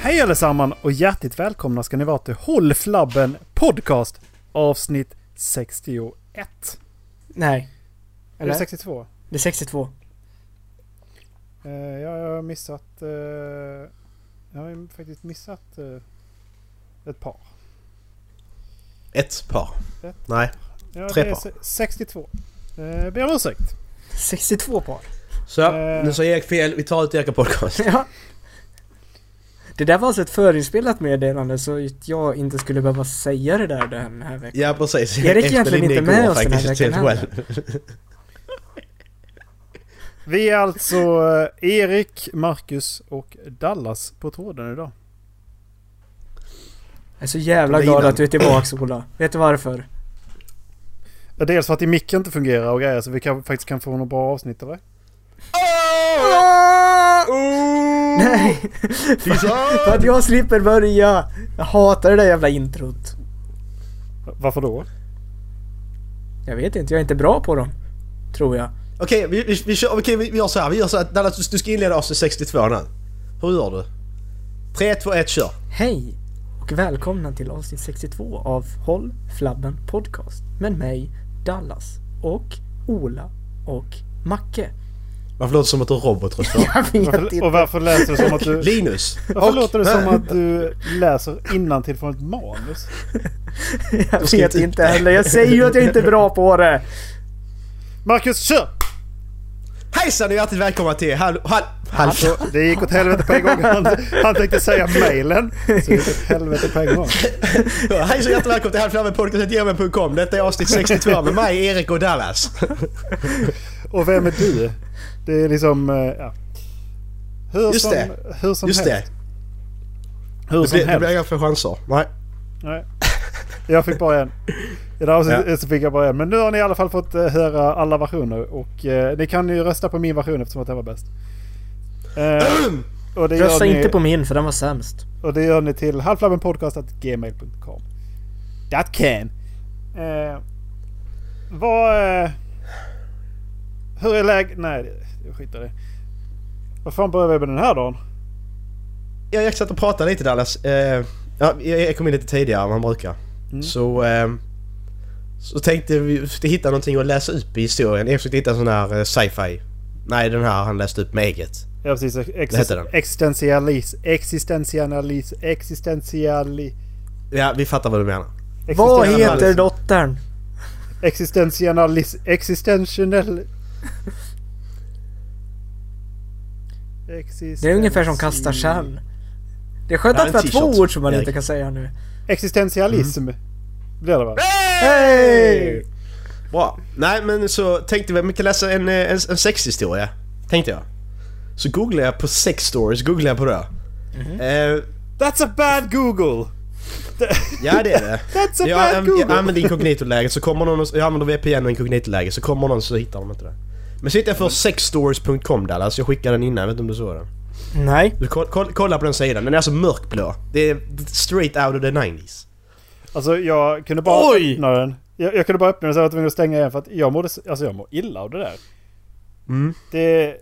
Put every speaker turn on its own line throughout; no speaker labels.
Hej allesammans och hjärtligt välkomna ska ni vara till Håll Flabben Podcast avsnitt 61.
Nej.
Eller
Eller?
62?
Det är 62.
Eh, ja, jag har missat... eh, jag har ju faktiskt missat eh, ett par.
Ett par.
Ett.
Nej,
Ja,
Tre
det är
par.
se- 62. Uh, ber om ursäkt.
62 par.
så
Eh.
nu sa Erik fel. Vi tar ut Erik en podcast.
Ja. Det där var alltså ett förinspelat meddelande så att jag inte skulle behöva säga det där den här veckan.
Ja, precis.
Erik är egentligen
Efter Linné
inte med
går
oss den här
faktiskt
veckan
helt
heller.
själv.
Vi är alltså eh, Erik, Marcus och Dallas på tråden idag.
Jag är så jävla
Det är
glad
innan.
att du är tillbaks Ola. Vet du varför?
Ja, Dels för att din mick inte fungerar och grejer så vi kan, faktiskt kan få något bra avsnitt av det.
Nej! För att jag slipper börja! Jag hatar det där jävla introt.
Varför då?
Jag vet inte, jag är inte bra på dem. Tror jag.
Okej, vi, vi, vi, kör, okej, vi, vi gör så här. Vi gör så här. Dallas, du, du ska inleda avsnitt 62 nu. Hur gör du? 3, 2, 1, kör.
Hej och välkomna till avsnitt 62 av Håll Flabben Podcast med mig Dallas och Ola och Macke.
Varför låter det som att du är robotröst? för?
Jag vet
Varför,
inte.
och varför läser du som att du...
Linus!
Varför
Och-
låter det
Nej.
som att du läser innantill från ett manus?
Jag
ska
vet
inte-
inte heller. Jag säger ju att jag inte är bra på det.
Marcus, kör!
Hejsan och hjärtligt välkomna till Hall... Hall... Hall...
Det gick åt helvete på en gång. Han, han tänkte säga mailen. Så det gick åt helvete på en gång.
Hejsan och hjärtligt välkomna till halvflammenpodcast.gmail.com. Detta är avsnitt 62 med mig, Erik och Dallas.
Och vem är du? Det är liksom... eh, Ja. Hur
Just
som,
det.
Hur som
Just det.
helst. Hur
Det
som
blir- det blir
helst.
inga fler chanser. Nej.
Nej. Jag fick bara en. I det här avsnittet så fick jag bara en. Men nu har ni i alla fall fått eh, höra alla versioner. Och eh, ni kan ju rösta på min version eftersom att den var bäst. Eh, och det gör
Rösta
ni-
inte på min för den var sämst.
Och det gör ni till halflabbenpodcast.gmail.com. That can. Eh, vad... Eh, hur är läget? Nej, det- jag skiter i det. Vad fan börjar vi med den här dagen?
Ja, jag satt och pratade lite Dallas. Eh, ja, jag jag kom in lite tidigare än man brukar.
Mm.
Så, eh, så tänkte vi försökte hitta någonting att läsa upp i historien. Jag försökte hitta en sån här eh, sci-fi. Nej, den här han läste upp med eget.
Ja precis.
heter
Exist-
den.
existentialis. Existentialis. Existentiali...
Ja, vi fattar vad du menar.
Vad
existentialis-
heter dottern?
Existentialis... Existential...
Det är ungefär som kasta kärn. Det är skönt
Det här
att
är
vi
en
har två
t-shirt,
ord som man inte
Erik.
kan säga nu.
Existentialism. Blir det va?
Hej!
Bra. Nej, men så tänkte vi att vi kan läsa en, eh, en, en sexhistoria. Tänkte jag. Så googlade jag på sex stories, googlade jag på det. Eh,
Mhm. That's a bad Google!
ja, det är det.
That's a
Jag,
bad
an- jag
Google!
använder inkognito-läge så kommer någon och, Jag använder VPN och inkognito-läge så kommer någon så hittar de inte det. Men så hittade
Mm.
jag för sexstories.com där alltså, jag skickade den innan, jag vet inte om du såg den?
Nej.
Du, koll, koll, kolla på den sidan, den är alltså mörkblå. Det är straight out of the 90s.
Alltså jag kunde bara
Oj!
öppna den. Jag, jag kunde bara öppna den så jag var tvungen att stänga igen för att jag mådde, s- alltså jag mår illa av det där.
Mm.
Det...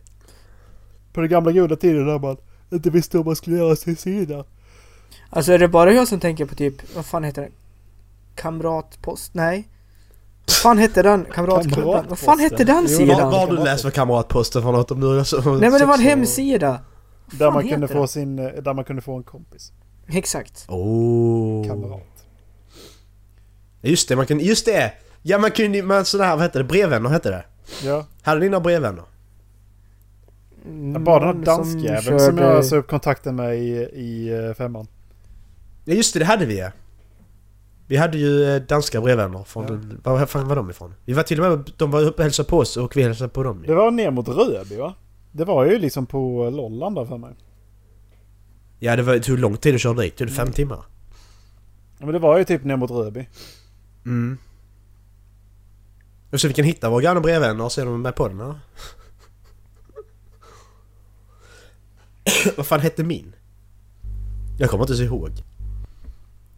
På den gamla goda tiden när man inte visste om man skulle göra sin sida.
Alltså är det bara jag som tänker på typ, vad fan heter den? Kamratpost? Nej. Vad fan hette den? Kamratklubben? Vad fan
Kamratposten.
hette den
Jo, det
Vad vad
sidan?
har du läst för kamratposten för något om du alltså,
Nej men det var en
hemsida.
hemsida. Vad
Där
fan
man, kunde
heter
få
den?
sin, eh, där man kunde få en kompis.
Exakt.
Oh.
Kamrat.
Just det, man kan, just det! Ja man kunde man sådär, vad hette det? Brevvänner hette det.
Ja.
Hade ni några brevvänner?
Jag bad den här
Någon
danskjäveln som, som jag alltså upp kontakten med i, i eh, femman.
Ja just det, det hade vi ja. Vi hade ju eh, danska brevvänner från... Var, var fan var de ifrån? Vi var till och med... De var uppe och hälsade på oss och vi hälsade på dem ju.
Det var ner mot Röby va? Det var ju liksom på Lolland där för mig.
Ja det var, det tog lång tid att köra dit, det tog fem timmar.
Ja, Men det var ju typ ner mot Röby.
Mm. Och så vi kan hitta våra grannar och brevvänner och se om de är med på den eller? Vad fan hette min? Jag kommer inte så ihåg.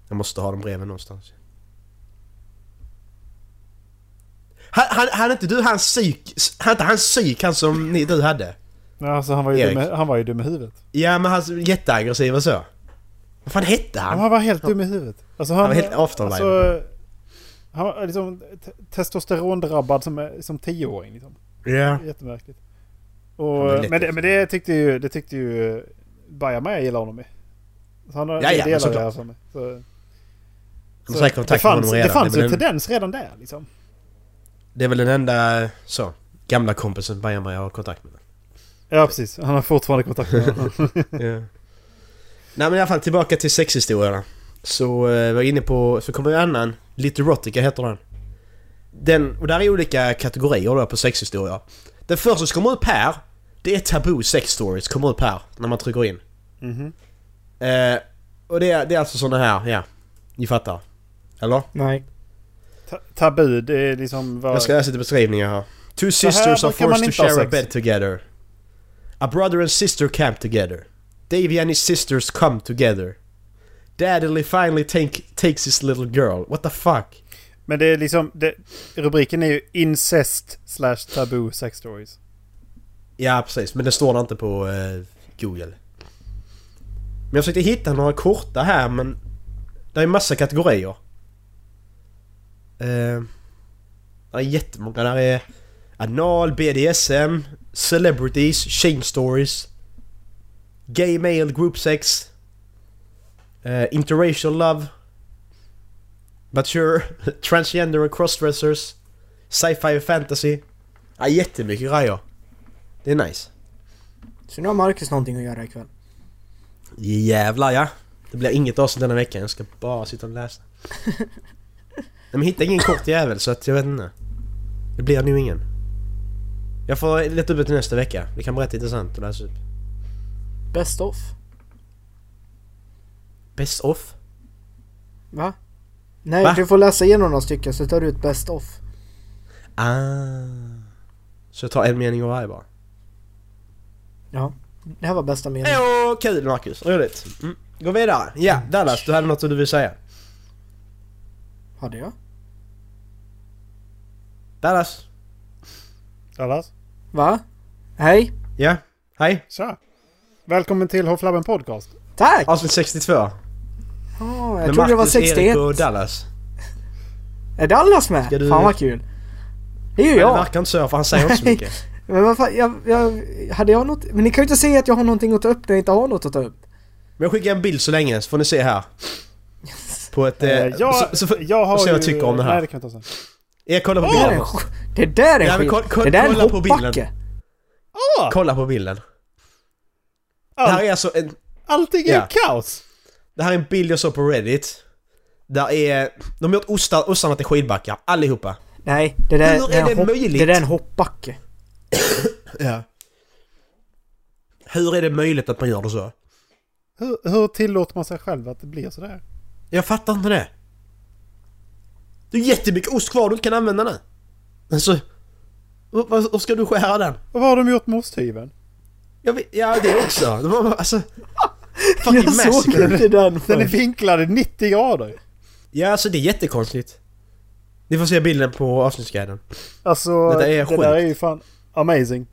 Jag måste ha de breven någonstans. Han, han, han är inte du han psyk... Han inte han psyk han som ni, du hade?
Nej, Alltså han var ju, dum,
Erik.
i- han var ju dum i huvudet.
Ja men han är jätteaggressiv och så. Vad fan hette han?
Han var helt dum i huvudet. Alltså han,
Han var helt afterlife.
alltså, han var liksom te- testosterondrabbad som, som tioåring. Liksom.
Ja.
Jättemärkligt.
Han är
Och,
lätt
men det,
efter.
men det tyckte ju, det tyckte ju Baja med gillade honom med. Så han har
Ja, ja,
det delar
såklart.
jag alltså med. Så,
De har säkert
det
kontakt med
fanns,
honom
det
redan.
fanns
det, är
en
väl den,
tendens redan där liksom.
det är väl den enda eh, så, gamla kompisen Bayama jag har kontakt med.
Ja precis, han har fortfarande kontakt med honom.
Ja. Nej men i alla fall tillbaka till sexhistorierna. Så eh, var jag inne på, så kommer en annan, Little Erotica heter den. Den, och där är olika kategorier då på sexhistorier. Den första som kommer upp här, det är Taboo Sex Stories, kommer upp här när man trycker in.
Mhm.
Eh, och det är, det är alltså såna här, ja. Ni fattar. Eller?
Nej.
Ta- Tabu, det är liksom vad...
Jag ska läsa lite beskrivningar här. Two
här
sisters are
brukar man
forced to
inte ha
share
sex.
a bed together. A brother and sister camp together. Davy and his sisters come together. Daddy finally take, takes his little girl. What the fuck?
Men det är liksom, det, rubriken är ju incest slash tabu sex stories.
Ja, precis. Men det står det inte på eh, Google. Men jag försökte hitta några korta här, men... Det är en massa kategorier. Eh, det är jättemånga. Där är anal, BDSM, celebrities, shame stories, gay male group sex, eh, interracial love, mature, transgender och crossdressers, sci-fi och fantasy. Ja, jättemycket grejer. Det är nice.
Så nu har Marcus någonting att göra ikväll.
Jävlar ja. Det blir inget avsnitt denna veckan. Jag ska bara sitta och läsa. Nej, men hitta ingen kort jävel så att jag vet inte. Det blir nu ingen. Jag får leta upp det till nästa vecka. Det kan bli rätt intressant att läsa upp.
Best off.
Best off?
Va? Nej,
Va?
du får läsa igenom några stycken så tar du ut best off.
Ah. Så jag tar en mening av varje bara.
Ja. Det här var bästa meningen.
Åh, kul Marcus. Roligt. Mm. Gå vidare. Ja, Dallas. Du hade något du ville säga.
Hade jag?
Dallas.
Dallas?
Va? Hej?
Ja. Hej.
Tja! Välkommen till Hofflabben Podcast.
Tack!
Avsnitt 62. Jag
Åh, jag trodde det var 61.
Erik och Dallas.
Är Dallas med?
Ska du-
Fan vad kul. Det är ju
Men
jag.
Det verkar inte så för han säger inte så mycket.
Men vad fan, jag, jag, hade jag något? Men ni kan ju inte säga att jag har någonting att ta upp när jag inte har något att ta upp.
Men jag skickar en bild så länge så får ni se här. På ett... Eh,
Eh, jag,
så, så, får-
jag har
så jag
ju...
tycker om det här.
Nej, det kan jag inte säga.
jag kollar på
Det där är en, sk- det där
bilden.
är
Ja,
en
men
skit.
kolla- kolla-
det där är en
kolla på bilden.
hoppbacke.
Ah!
Kolla på bilden. Det här
Allt,
är alltså en...
allting är
Ja.
kaos!
Det här är en bild jag såg på Reddit. Där är... De har gjort ostar, ostarna till skidbackar, allihopa.
Nej, det där,
Hur är
en
det
hopp,
möjligt?
det där är en hoppbacke.
Ja. Hur är det möjligt att man gör det så?
Hur, hur tillåter man sig själv att det blir sådär?
Jag fattar inte det. Det är jättemycket ost kvar du inte kan använda nu. Alltså... Hur, vad- hur ska du skära den?
Och vad har de gjort med osthyveln?
Jag vet, ja det också. Det var, alltså... Fucking
Jag såg
massacre.
inte den
Den är
först.
vinklad i 90 grader!
Ja, alltså det är jättekonstigt. Ni får se bilden på avsnittsguiden.
Alltså,
Detta är
det
sjukt.
där är ju fan amazing.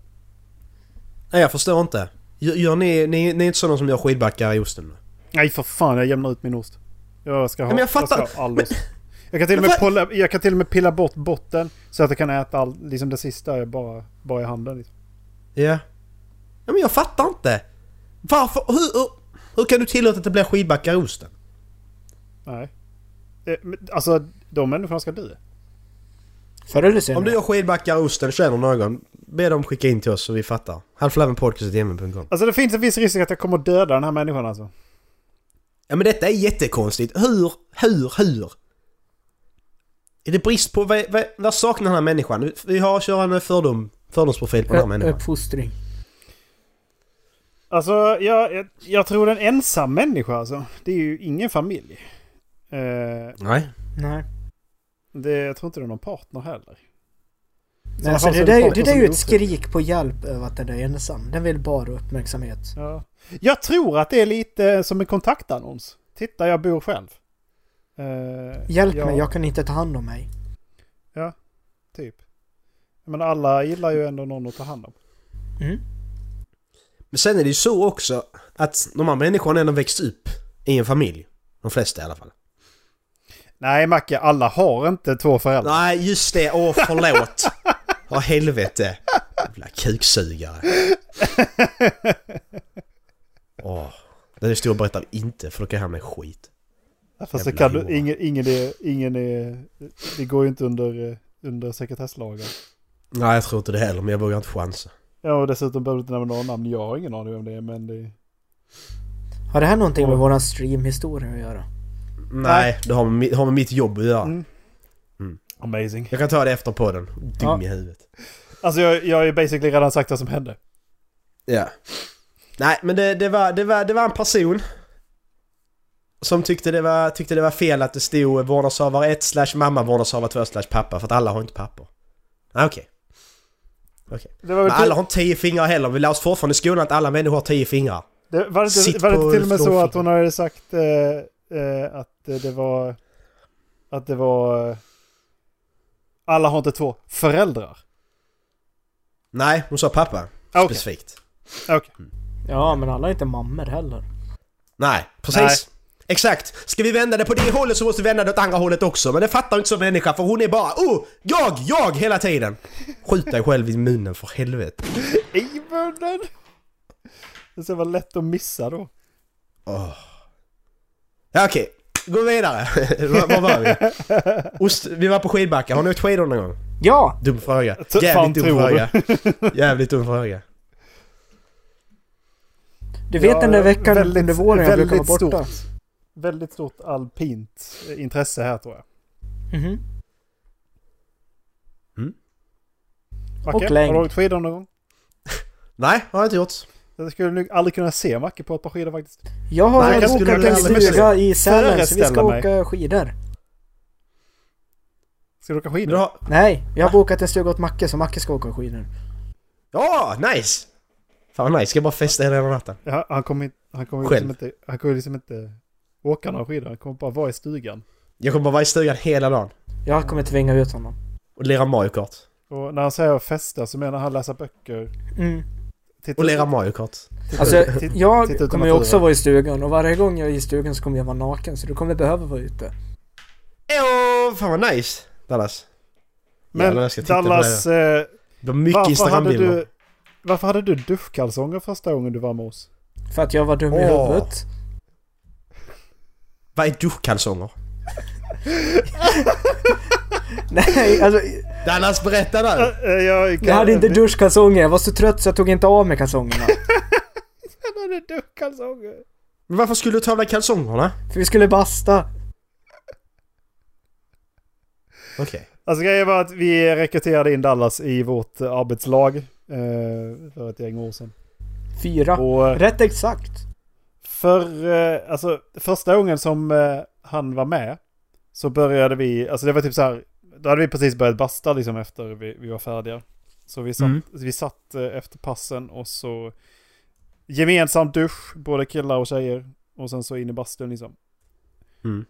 Nej, jag förstår inte. Gör, gör ni, ni, ni är inte sådana som gör skidbackar i osten? va?
Nej för fan, jag jämnar ut min ost. Jag ska ha,
men jag fattar.
ska ha all ost. Jag kan, till och
Men
med polla, jag kan till och med pilla bort botten så att jag kan äta all, liksom det sista jag bara, bara i handen. Liksom.
Ja. Ja, men jag fattar inte. Varför? Hur, hur, hur kan du tillåta att det blir skidbackar i osten?
Nej. Eh, men, Alltså, de människorna ska dö.
Förr eller
Om du
senare.
gör skidbackar i osten och känner någon, be dem skicka in till oss så vi fattar. Halflavenpodcast.com
Alltså det finns en viss risk att jag kommer döda den här människan alltså.
Ja, men detta är jättekonstigt. Hur, hur, hur? Är det brist på... Vad, vad, vad saknar den här människan? Vi- Vi har kör en fördom, fördomsprofil på den här
Ö-
människan.
Uppfostring.
Alltså jag, jag, jag tror en ensam människa alltså. Det är ju ingen familj. Eh,
Nej.
Nej.
det, jag tror inte det är någon partner heller.
Nej, alltså,
fall så
det,
är det
där, är ju-
folk
det
som
där är ju
blir
ett skrik på hjälp över att den där är ensam. Den vill bara ha uppmärksamhet.
Ja. Jag tror att det är lite som en kontaktannons. Titta, jag bor själv. Eh,
Hjälp
jag-
mig, jag kan inte ta hand om mig.
Typ. Men alla gillar ju ändå någon att ta hand om.
Mm.
Men sen är det ju så också att de här människorna ändå växt upp I en familj. De flesta i alla fall.
Nej Macke, alla har inte två föräldrar.
Nej, just det. Åh, förlåt. Åh, helvete. Jävla kuksugare. Åh. Den historien berättar vi inte, för då kan jag hamna i skit.
Fast det Alltså,
jävla
kan du,
hora.
ingen, ingen, är, ingen är, det går ju inte under, eh, under sekretesslagen.
Nej, jag tror inte det heller, men jag vågar inte chansa.
Ja, och dessutom behöver du inte nämna några namn. Jag har ingen aning om det, är, men det...
Har det här någonting med våran streamhistoria att göra?
Nej, det har med, mi- det har med mitt jobb att göra.
Mm. Amazing.
Jag kan ta det efter podden. Dum
Ja.
i huvudet.
Alltså jag, jag har ju basically redan sagt vad som hände.
Ja. Nej, men det, det, var, det, var, det var en person som tyckte det var, tyckte det var fel att det stod vårdnadshavare 1 slash mamma, vårdnadshavare 2 slash pappa, för att alla har inte pappor. Ah, Okej.
Det var,
Men
väl till,
alla har inte tio fingrar heller. Vi lär oss fortfarande i skolan att alla människor har tio fingrar.
det, var det inte,
Sitt
var det
på
inte till och med så
strålfingret.
att hon hade sagt eh, eh, att eh, det var... Att det var... eh, Alla har inte två föräldrar.
Nej, hon sa pappa.
Ah, Okej,
Specifikt.
okej.
Ja, men alla är inte mammor heller.
Nej, precis.
Nej.
Exakt. Ska vi vända det på det hållet så måste vi vända det åt andra hållet också. Men det fattar inte som människa för hon är bara oh, jag, jag hela tiden. Skjut dig själv i munnen för helvete.
I munnen! Det ska vara lätt att missa då.
Åh. Ja, okej. Gå vidare. Var var var vi? Ost, vi var på skidbackar. Har ni åkt skidor någon gång?
Ja!
Dum fråga.
T- fan,
Jävligt dum
tror
fråga. Jävligt dum fråga.
Du vet
Ja,
den där veckan
väldigt-
under våren jag brukar vara
väldigt
borta?
Väldigt stort alpint eh, intresse här tror jag.
Mhm.
Macke,
Och
har
längd.
du åkt skidor någon gång?
Nej, har jag inte gjort.
Jag skulle nog aldrig kunna se Macke på ett par skidor faktiskt.
Jag har
Nej, jag
bokat
skulle
en
aldrig missa
stuga i Sälen så vi ska
Föreställa mig.
åka skidor.
Ska du åka
Men du
skidor?
har...
Nej, jag har bokat en stuga åt Macke så Macke ska åka skidor.
Ja, nice! Fan vad nice. Ska jag bara festa hela jävla natten.
Ja, han kommer inte- han kommer
Själv.
liksom inte, han kommer liksom inte åka några skidor. Han kommer bara vara i stugan.
Jag kommer bara vara i stugan hela dagen.
Jag kommer tvinga ut honom.
Och lira Mario Kart.
Och när han säger festa så menar han läsa böcker.
Mm.
Titta,
Och lira Mario Kart.
titta-
Alltså,
titta- titta
jag
ut
kommer ju
genom
också vara i stugan och varje gång jag är i stugan så kommer jag vara naken så du kommer behöva vara ute.
Åh, fan vad nice! Dallas. Jävlar,
Men
jag ska titta på det
Dallas, eh,
Det var mycket
varför hade,
Instagram-bilder.
du, varför hade du duschkalsonger första gången du var med oss?
För att jag var dum i
Åh.
huvudet.
Vad är duschkalsonger?
Nej, alltså
Dallas, berätta där!
Eh, eh, Jag, kan,
jag hade inte duschkalsonger. Jag var så trött så jag tog inte av mig kalsongerna.
Jag hade duschkalsonger.
Men varför skulle du ta av dig kalsongerna?
För vi skulle basta.
Okej.
Alltså grejen var att vi rekryterade in Dallas i vårt eh, arbetslag eh, för ett gäng år sedan.
Fyra.
Och, eh,
Rätt exakt.
För, eh, alltså första gången som eh, han var med så började vi, alltså det var typ så här, då hade vi precis börjat basta liksom efter vi, vi var färdiga. Så vi satt,
Mm.
vi satt eh, efter passen och så gemensam dusch, både killar och tjejer. Och sen så in i bastun liksom.
Mm.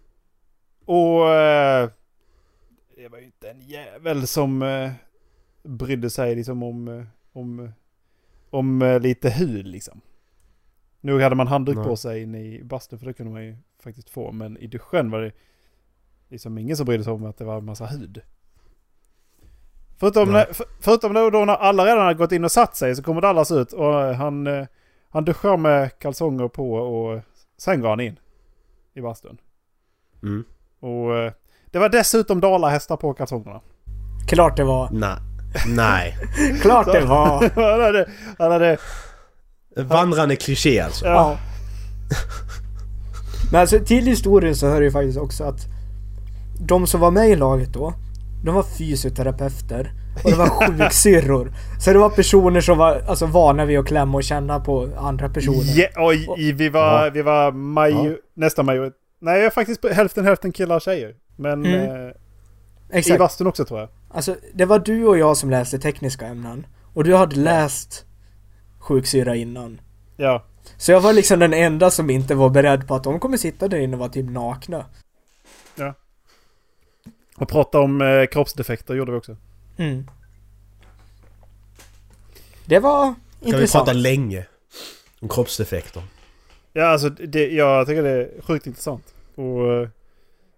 Och eh, det var ju inte en jävel som eh, brydde sig liksom om, eh, om, om eh, lite hud liksom. Nu hade man handduk
Nej.
på sig inne i bastun för det kunde man ju faktiskt få. Men i duschen var det liksom ingen som brydde sig om att det var en massa hud. Förutom,
Nej.
när, för, förutom då, då när alla redan hade gått in och satt sig så kommer Dallas ut och eh, han, eh, han duschar med kalsonger på och sen går han in i bastun.
Mm.
Och eh, det var dessutom dalahästar på kalsongerna.
Klart det var.
Nej. Nej.
Klart det var.
han hade, han hade,
Vandrande kliché alltså.
Ja. Men alltså till historien så hör ju faktiskt också att de som var med i laget då, de var fysioterapeuter och det var sjuksyrror. Så det var personer som var alltså, vana vid att klämma och känna på andra personer.
Ja, oj, i- vi var,
Ja.
vi var maj,
Ja.
nästan major. Nej, jag är faktiskt på hälften hälften killar och tjejer. Men
Mm.
eh, i
Exakt.
bastun också tror jag.
Alltså det var du och jag som läste tekniska ämnen och du hade läst sjuksyra innan.
Ja.
Så jag var liksom den enda som inte var beredd på att de kommer sitta där inne och vara typ nakna.
Och prata om eh, kroppsdefekter gjorde vi också.
Mm. Det var
Kan vi
intressant.
prata länge om kroppsdefekter?
Ja, alltså det, jag tycker det är sjukt intressant. Och eh,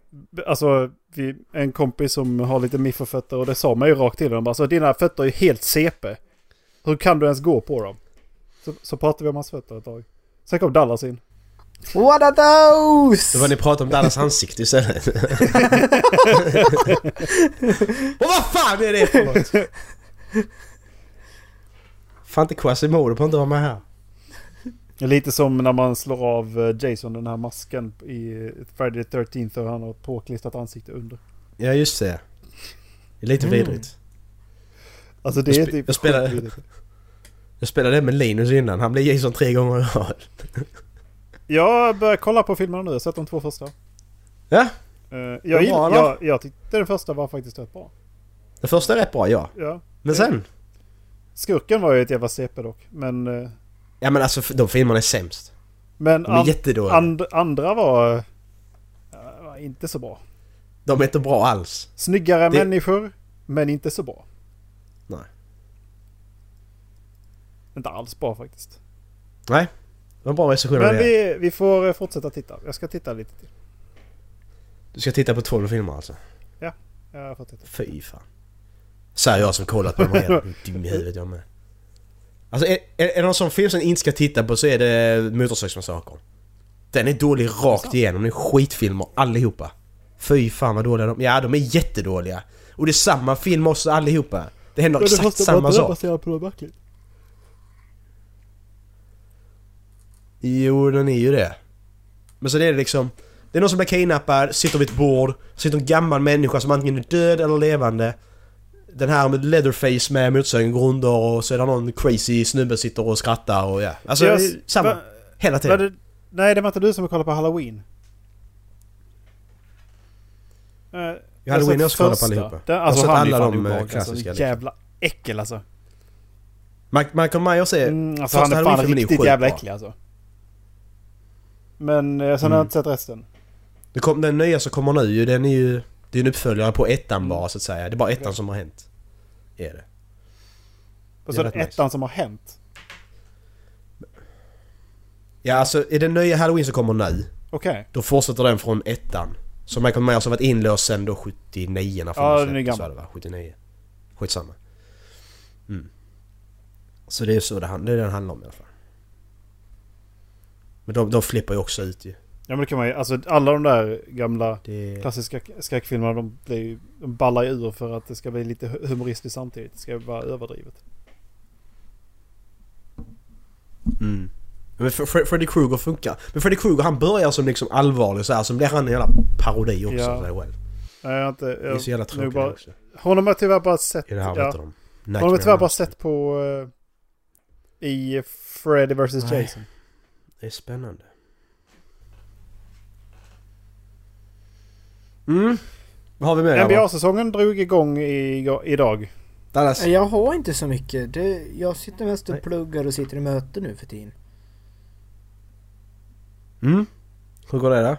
b- alltså, vi, en kompis som har lite miffofötter och det sa man ju rakt till honom. bara, Alltså dina fötter är ju helt CP. Hur kan du ens gå på dem? Så, så pratade vi om hans fötter ett tag. Sen kom Dallas in.
What are
Det var
those?
ni pratade om Dallas ansikte istället. och vad fan är det för något? Fan inte Quasimodo på att inte vara med här.
Lite som när man slår av eh, Jason den här masken i eh, Friday the 13th och han har ett påklistrat ansikte under.
Ja just det. Det är lite
Mm.
vidrigt.
Alltså det
Jag
är
spe-
typ...
jag spelar-
sjukt vidrigt.
Jag spelade det med Linus innan. Han blev Jason tre gånger i rad.
Jag börjar kolla på filmerna nu. Jag har sett de två första.
Ja,
Eh, jag, jag,
Vad var det?
jag, jag tyckte den första var faktiskt rätt bra.
den första är rätt bra ja.
Ja.
Men sen?
Skurken var ju ett jävla CP dock. Men, eh,
Ja men alltså de filmerna är sämst.
men
De är
an,
jättedåliga.
and, andra var eh, var inte så bra.
De är inte bra alls.
Snyggare
Det-
människor, men inte så bra.
Nej.
Inte alls bra faktiskt.
Nej. Det var en bra recension av
Men
det.
vi, vi får eh, fortsätta titta. Jag ska titta lite till.
Du ska titta på 12 filmer alltså?
Jag får titta.
Fy fan. Säger jag som kollat på dem redan. Dum i huvudet jag med. Alltså är, är, är det någon sån film som ni inte ska titta på så är det Motorsågsmassakern. Den är dålig rakt igenom. Det är skitfilmer allihopa. Fy fan vad dåliga de Ja de är jättedåliga. Och det är samma film också allihopa. Det händer exakt samma sak.
på något verkligt.
Jo den är ju det. Men sen är det liksom. Det är någon som blir kidnappad, sitter vid ett bord. Sitter en gammal människa som antingen är död eller levande. Den här med Leatherface med motorcykeln går under och så är det någon crazy snubbe sitter och skrattar och ja. Alltså
Yes.
det är samma.
Va-
hela
Var
tiden.
det, nej, det var inte du som kollade på Halloween. Eh, jag har
Halloween
sett
har jag också kollat på
första.
allihopa.
Den,
Jag har
alltså,
sett
han är
alla
fan
de, eh,
obehaglig, alltså.
klassiska, liksom.
Jävla äckel alltså.
Ma- Michael Myers är...
Mm, alltså han
första
är fan
Halloween-filmen är
riktigt
sjukt
jävla
bra.
äcklig alltså. Men eh, sen har jag
Mm.
inte sett resten.
Det kom, den nya som kommer nu den är ju... Det är en uppföljare på ettan bara så att säga. Det är bara ettan som har hänt. Är det.
Och så är
Det är
det
rätt
ettan som har hänt.
Ja alltså är det nya Halloween som kommer nu.
Okej.
Då fortsätter den från ettan. Så Michael Myers har alltså varit inlåst sen då 79 när
Ja, den
filmen
är
släpptes,
gammal.
så det var 79. Skitsamma. Mm. Så det är så det, han- det, är det den handlar om i alla fall. Men de, de flippar ju också ut ju.
Ja men det kan man ju. Alltså alla de där gamla
Det,
klassiska skräckfilmerna de, blir, ju- de ballar ju ur för att det ska bli lite hu- humoristiskt samtidigt. Det ska vara överdrivet.
Mm. Men Fre- Fre- Freddy Krueger funkar. Men Freddy Krueger han börjar som liksom allvarlig så här, sen blir han en jävla parodi också
Ja.
av sig själv.
Nej, jag har inte...
Det är så jävla
Jag, nu
tråkigt
bara,
också.
honom har jag tyvärr bara sett...
I det här, vad
ja.
heter de?
Honom har jag
Nightmare
tyvärr
on
bara
Elm
sett på... eh, I Freddy vs.
Nej.
Jason.
Det är spännande. Mm. Vad har vi med grabbar?
NBA-säsongen drog igång i, idag.
Dallas.
Jag har inte så mycket. Det, jag sitter mest
Nej.
och pluggar och sitter i möte nu för tiden.
Mm. Hur går det då?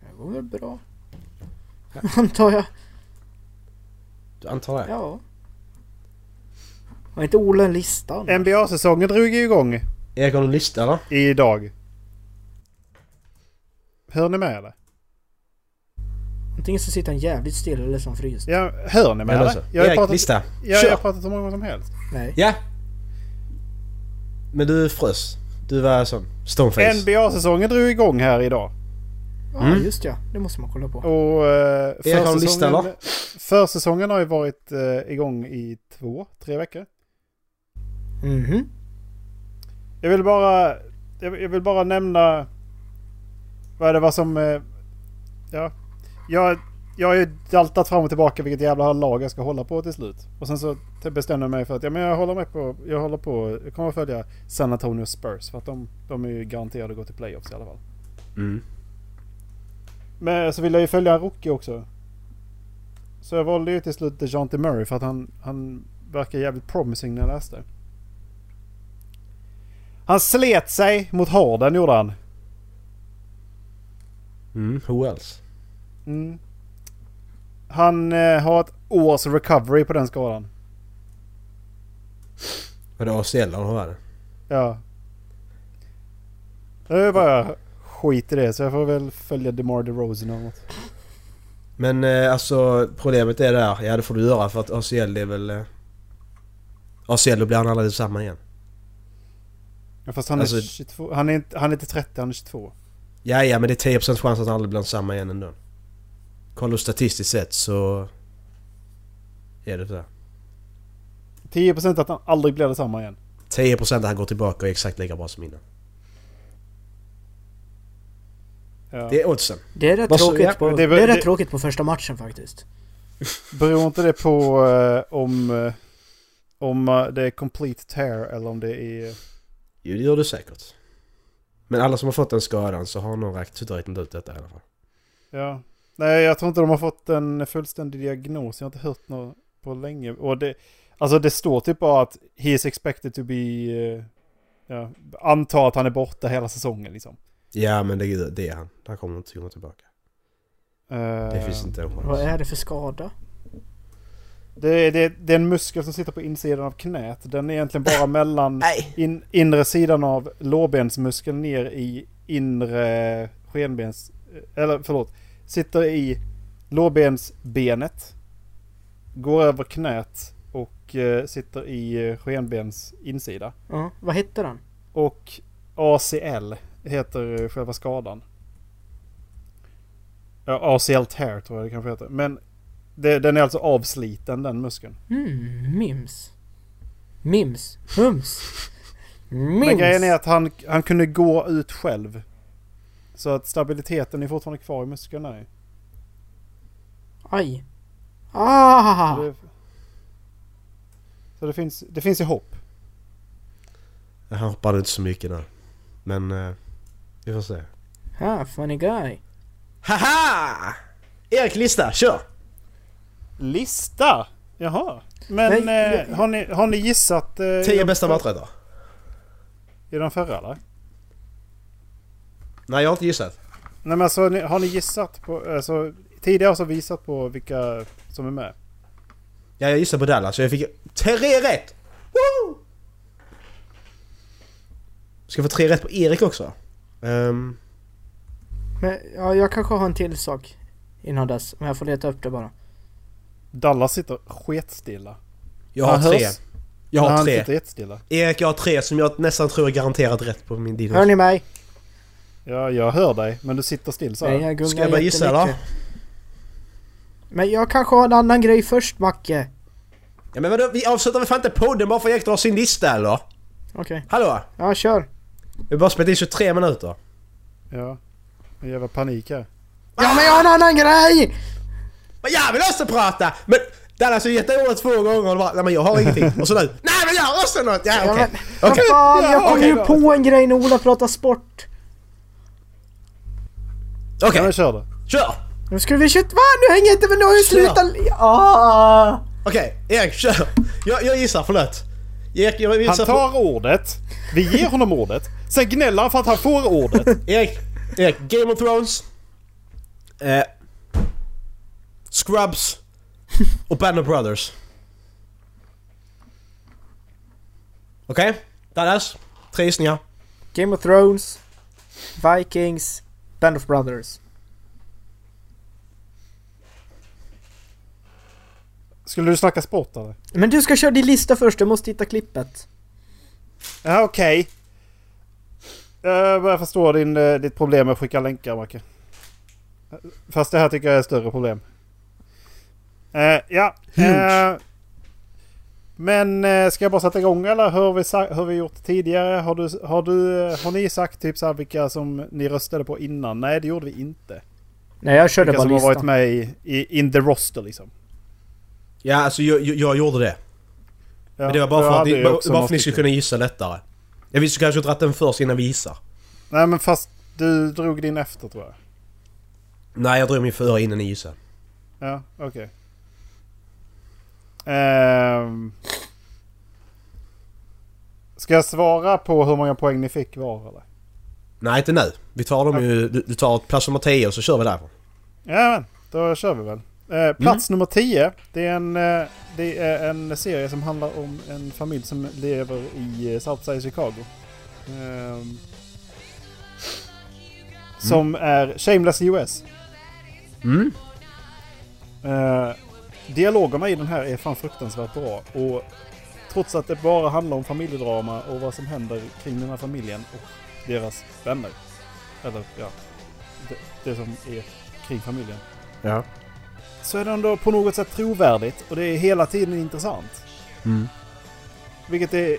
Det går väl bra. Antar jag.
Du antar det?
Ja. Har inte Ola en lista? annars?
NBA-säsongen drog ju igång
Erik har du en lista eller?
idag. Hör ni med eller?
Antingen så sitter han jävligt still eller så är han fryst.
Ja, hör ni med
eller
eller?
så?
Jag har
Erik,
pratat,
lista.
ja,
Kör.
jag har pratat så många som helst.
Nej.
Ja. Men du frös. Du var sån stoneface.
NBA-säsongen drog igång här idag.
Ja,
Mm.
just ja. Det måste man kolla på.
Och eh,
Erik har en lista,
försäsongen, försäsongen har ju varit eh, igång i två, tre veckor.
Mhm.
Jag vill bara, jag jag vill bara nämna vad det var som... eh, Ja, jag, jag har ju daltat fram och tillbaka vilket jävla lag jag ska hålla på till slut. Och sen så t- bestämde jag mig för att ja, men jag håller med på, jag håller på, jag kommer att följa San Antonio Spurs för att de, de är ju garanterade att gå till playoffs i alla fall.
Mm.
Men så vill jag ju följa en rookie också. Så jag valde ju till slut DeJounte Murray för att han, han verkar jävligt promising när jag läste. Han slet sig mot Harden gjorde han.
Mm. Who else?
Mm. Han eh, har ett års recovery på den skadan.
Var det ACL eller hur var det?
Ja. Nu bara skit i det så jag får väl följa DeMar DeRozan eller något.
Men eh, alltså problemet är där, ja det får du göra för att ACL är väl... Eh, ACL, då blir han aldrig samma igen.
Ja, fast han,
Alltså-
är 22, han, är inte, han är inte 30, han är 22.
Ja, ja men det är 10% chans att han aldrig blir samma igen ändå. Kollar du statistiskt sett så... Är det så.
10% att han aldrig blir detsamma igen.
10% att han går tillbaka och är exakt lika bra som innan.
Ja.
Det är oddsen.
Det är rätt,
Vad så- ja,
tråkigt, på,
det
det
är väl-
är rätt
det-
tråkigt på första matchen faktiskt.
Beror inte det på eh, om, eh, om eh, det är complete tear eller om det är...
Jo, det gör du säkert. Men alla som har fått den skadan så har nog rakt- räknat ut detta i alla fall.
Ja. Nej, jag tror inte de har fått en fullständig diagnos. Jag har inte hört något på länge. Och det, alltså det står typ bara att he is expected to be... eh, Ja, anta att han är borta hela säsongen liksom.
Ja, men det, det är han. Han kommer inte komma tillbaka.
Eh,
Det finns inte en
Vad
chans.
är det för skada?
Det, det, det är en muskel som sitter på insidan av knät. Den är egentligen bara mellan
Nej!
in, inre sidan av lårbensmuskeln ner i inre skenbens... Eller förlåt. Sitter i lårbensbenet. Går över knät och eh, sitter i eh, skenbens insida.
Ja, vad heter den?
Och ACL heter eh, själva skadan. Ja, ACL tear tror jag det kanske heter. Men det, den är alltså avsliten den muskeln.
Mm, mims. Mims. Mums.
Men grejen är
Mims.
att han, han kunde gå ut själv. Så att stabiliteten är fortfarande kvar i musklerna. ju.
Aj. Ah!
Så, det, så det, finns, det finns ju hopp.
Han hoppade inte så mycket nu. Men... eh, vi får se.
Ha, funny guy.
Haha! Erik Lista, kör!
Lista! Jaha. Men
Nej,
eh, har, ni, har ni gissat? Eh, i
10
de-
bästa maträtter.
I den förra eller?
Nej, jag har inte gissat.
Nej men alltså har ni- har ni gissat på... Alltså, tidigare så har vi gissat på vilka som är med.
Ja, jag gissade på Dallas så jag fick tre rätt! Woo! Ska jag få tre rätt på Erik också? Ehm,
Men ja, jag kanske har en till sak innan dess. Men jag får leta upp det bara.
Dallas sitter sketstilla.
jag har
Han
tre.
hörs.
Jag
Nej,
har
han
tre.
sitter jättestilla.
Erik, jag har tre som jag nästan tror är garanterat rätt på min
Hör
dinos.
ni mig?
Ja, jag hör dig men du sitter still så här.
Nej, jag gungar
Ska jag börja gissa då?
jättemycket. Men jag kanske har en annan grej först Macke.
Ja, men vadå, vi avslutar väl fan inte podden bara för att Erik drar sin lista eller?
Okej.
Hallå?
Ja, kör.
Ah! Vi har bara spelat in 23 minuter.
Ja. En jävla panik här.
Ja, men jag har en annan grej!
Men jag vill också prata! Men Dallas har gett ordet två gånger och bara nej men jag har ingenting. Och så nu, nej men jag har också något! Ja
Ja,
okej.
men,
Okay.
vad fan, jag kom
okej
ju
då.
på en grej när Ola pratar sport.
Ja,
Okej,
men kör du.
kör!
Nu skulle vi kört... Va? Nu hänger jag inte med, nu har jag
Sluta.
slutat... Ah.
Okej, Erik kör! Jag, jag gissar, förlåt. Erik, jag
Han
gissar på...
tar ordet. Vi ger honom ordet. Sen gnäller han för att han får ordet.
Erik, Erik, Game of Thrones. Eh, Scrubs. Och Band of Brothers. Okej, Dallas. Tre gissningar.
Game of Thrones, Vikings, Band of Brothers.
Skulle du snacka sport eller?
Men du ska köra din lista först, jag måste hitta klippet.
Ja, okej. Eh, Jag börjar förstå din, eh, ditt problem med att skicka länkar, Macke. Fast det här tycker jag är ett större problem. Eh, ja. eh, men eh, ska jag bara sätta igång eller hur har vi, sa- hur har vi gjort tidigare? Har, du, har, du, eh, har ni sagt typ så här vilka som ni röstade på innan? Nej, det gjorde vi inte.
Nej, jag körde
Vilka
bara
som har varit
listan.
med i, i in the roster liksom.
Ja, alltså jag, jag, jag gjorde det.
Ja,
Men det var bara
jag
för att
hade
ni,
ju
bara,
också
bara för
några
att ni skulle
stycken.
kunna gissa lättare. Jag visste kanske inte att den först innan vi gissar.
Nej men fast du drog din efter tror jag.
Nej, jag drog min före innan ni gissade.
Ja, okej. Ehm. ska jag svara på hur många poäng ni fick var eller?
Nej, inte nu. Vi tar dem ju... Du, du tar plats nummer 10 och så kör vi därifrån.
Jajamän, då kör vi väl. Eh, plats nummer 10. Det är, en, eh, det är en serie som handlar om en familj som lever i eh, Southside Chicago. Ehm, Som är Shameless US.
Mm.
Eh, dialogerna i den här är fan fruktansvärt bra. Och trots att det bara handlar om familjedrama och vad som händer kring den här familjen och deras vänner. Eller ja, det, det som är kring familjen.
Ja.
Så är det ändå på något sätt trovärdigt och det är hela tiden intressant.
Mm.
Vilket är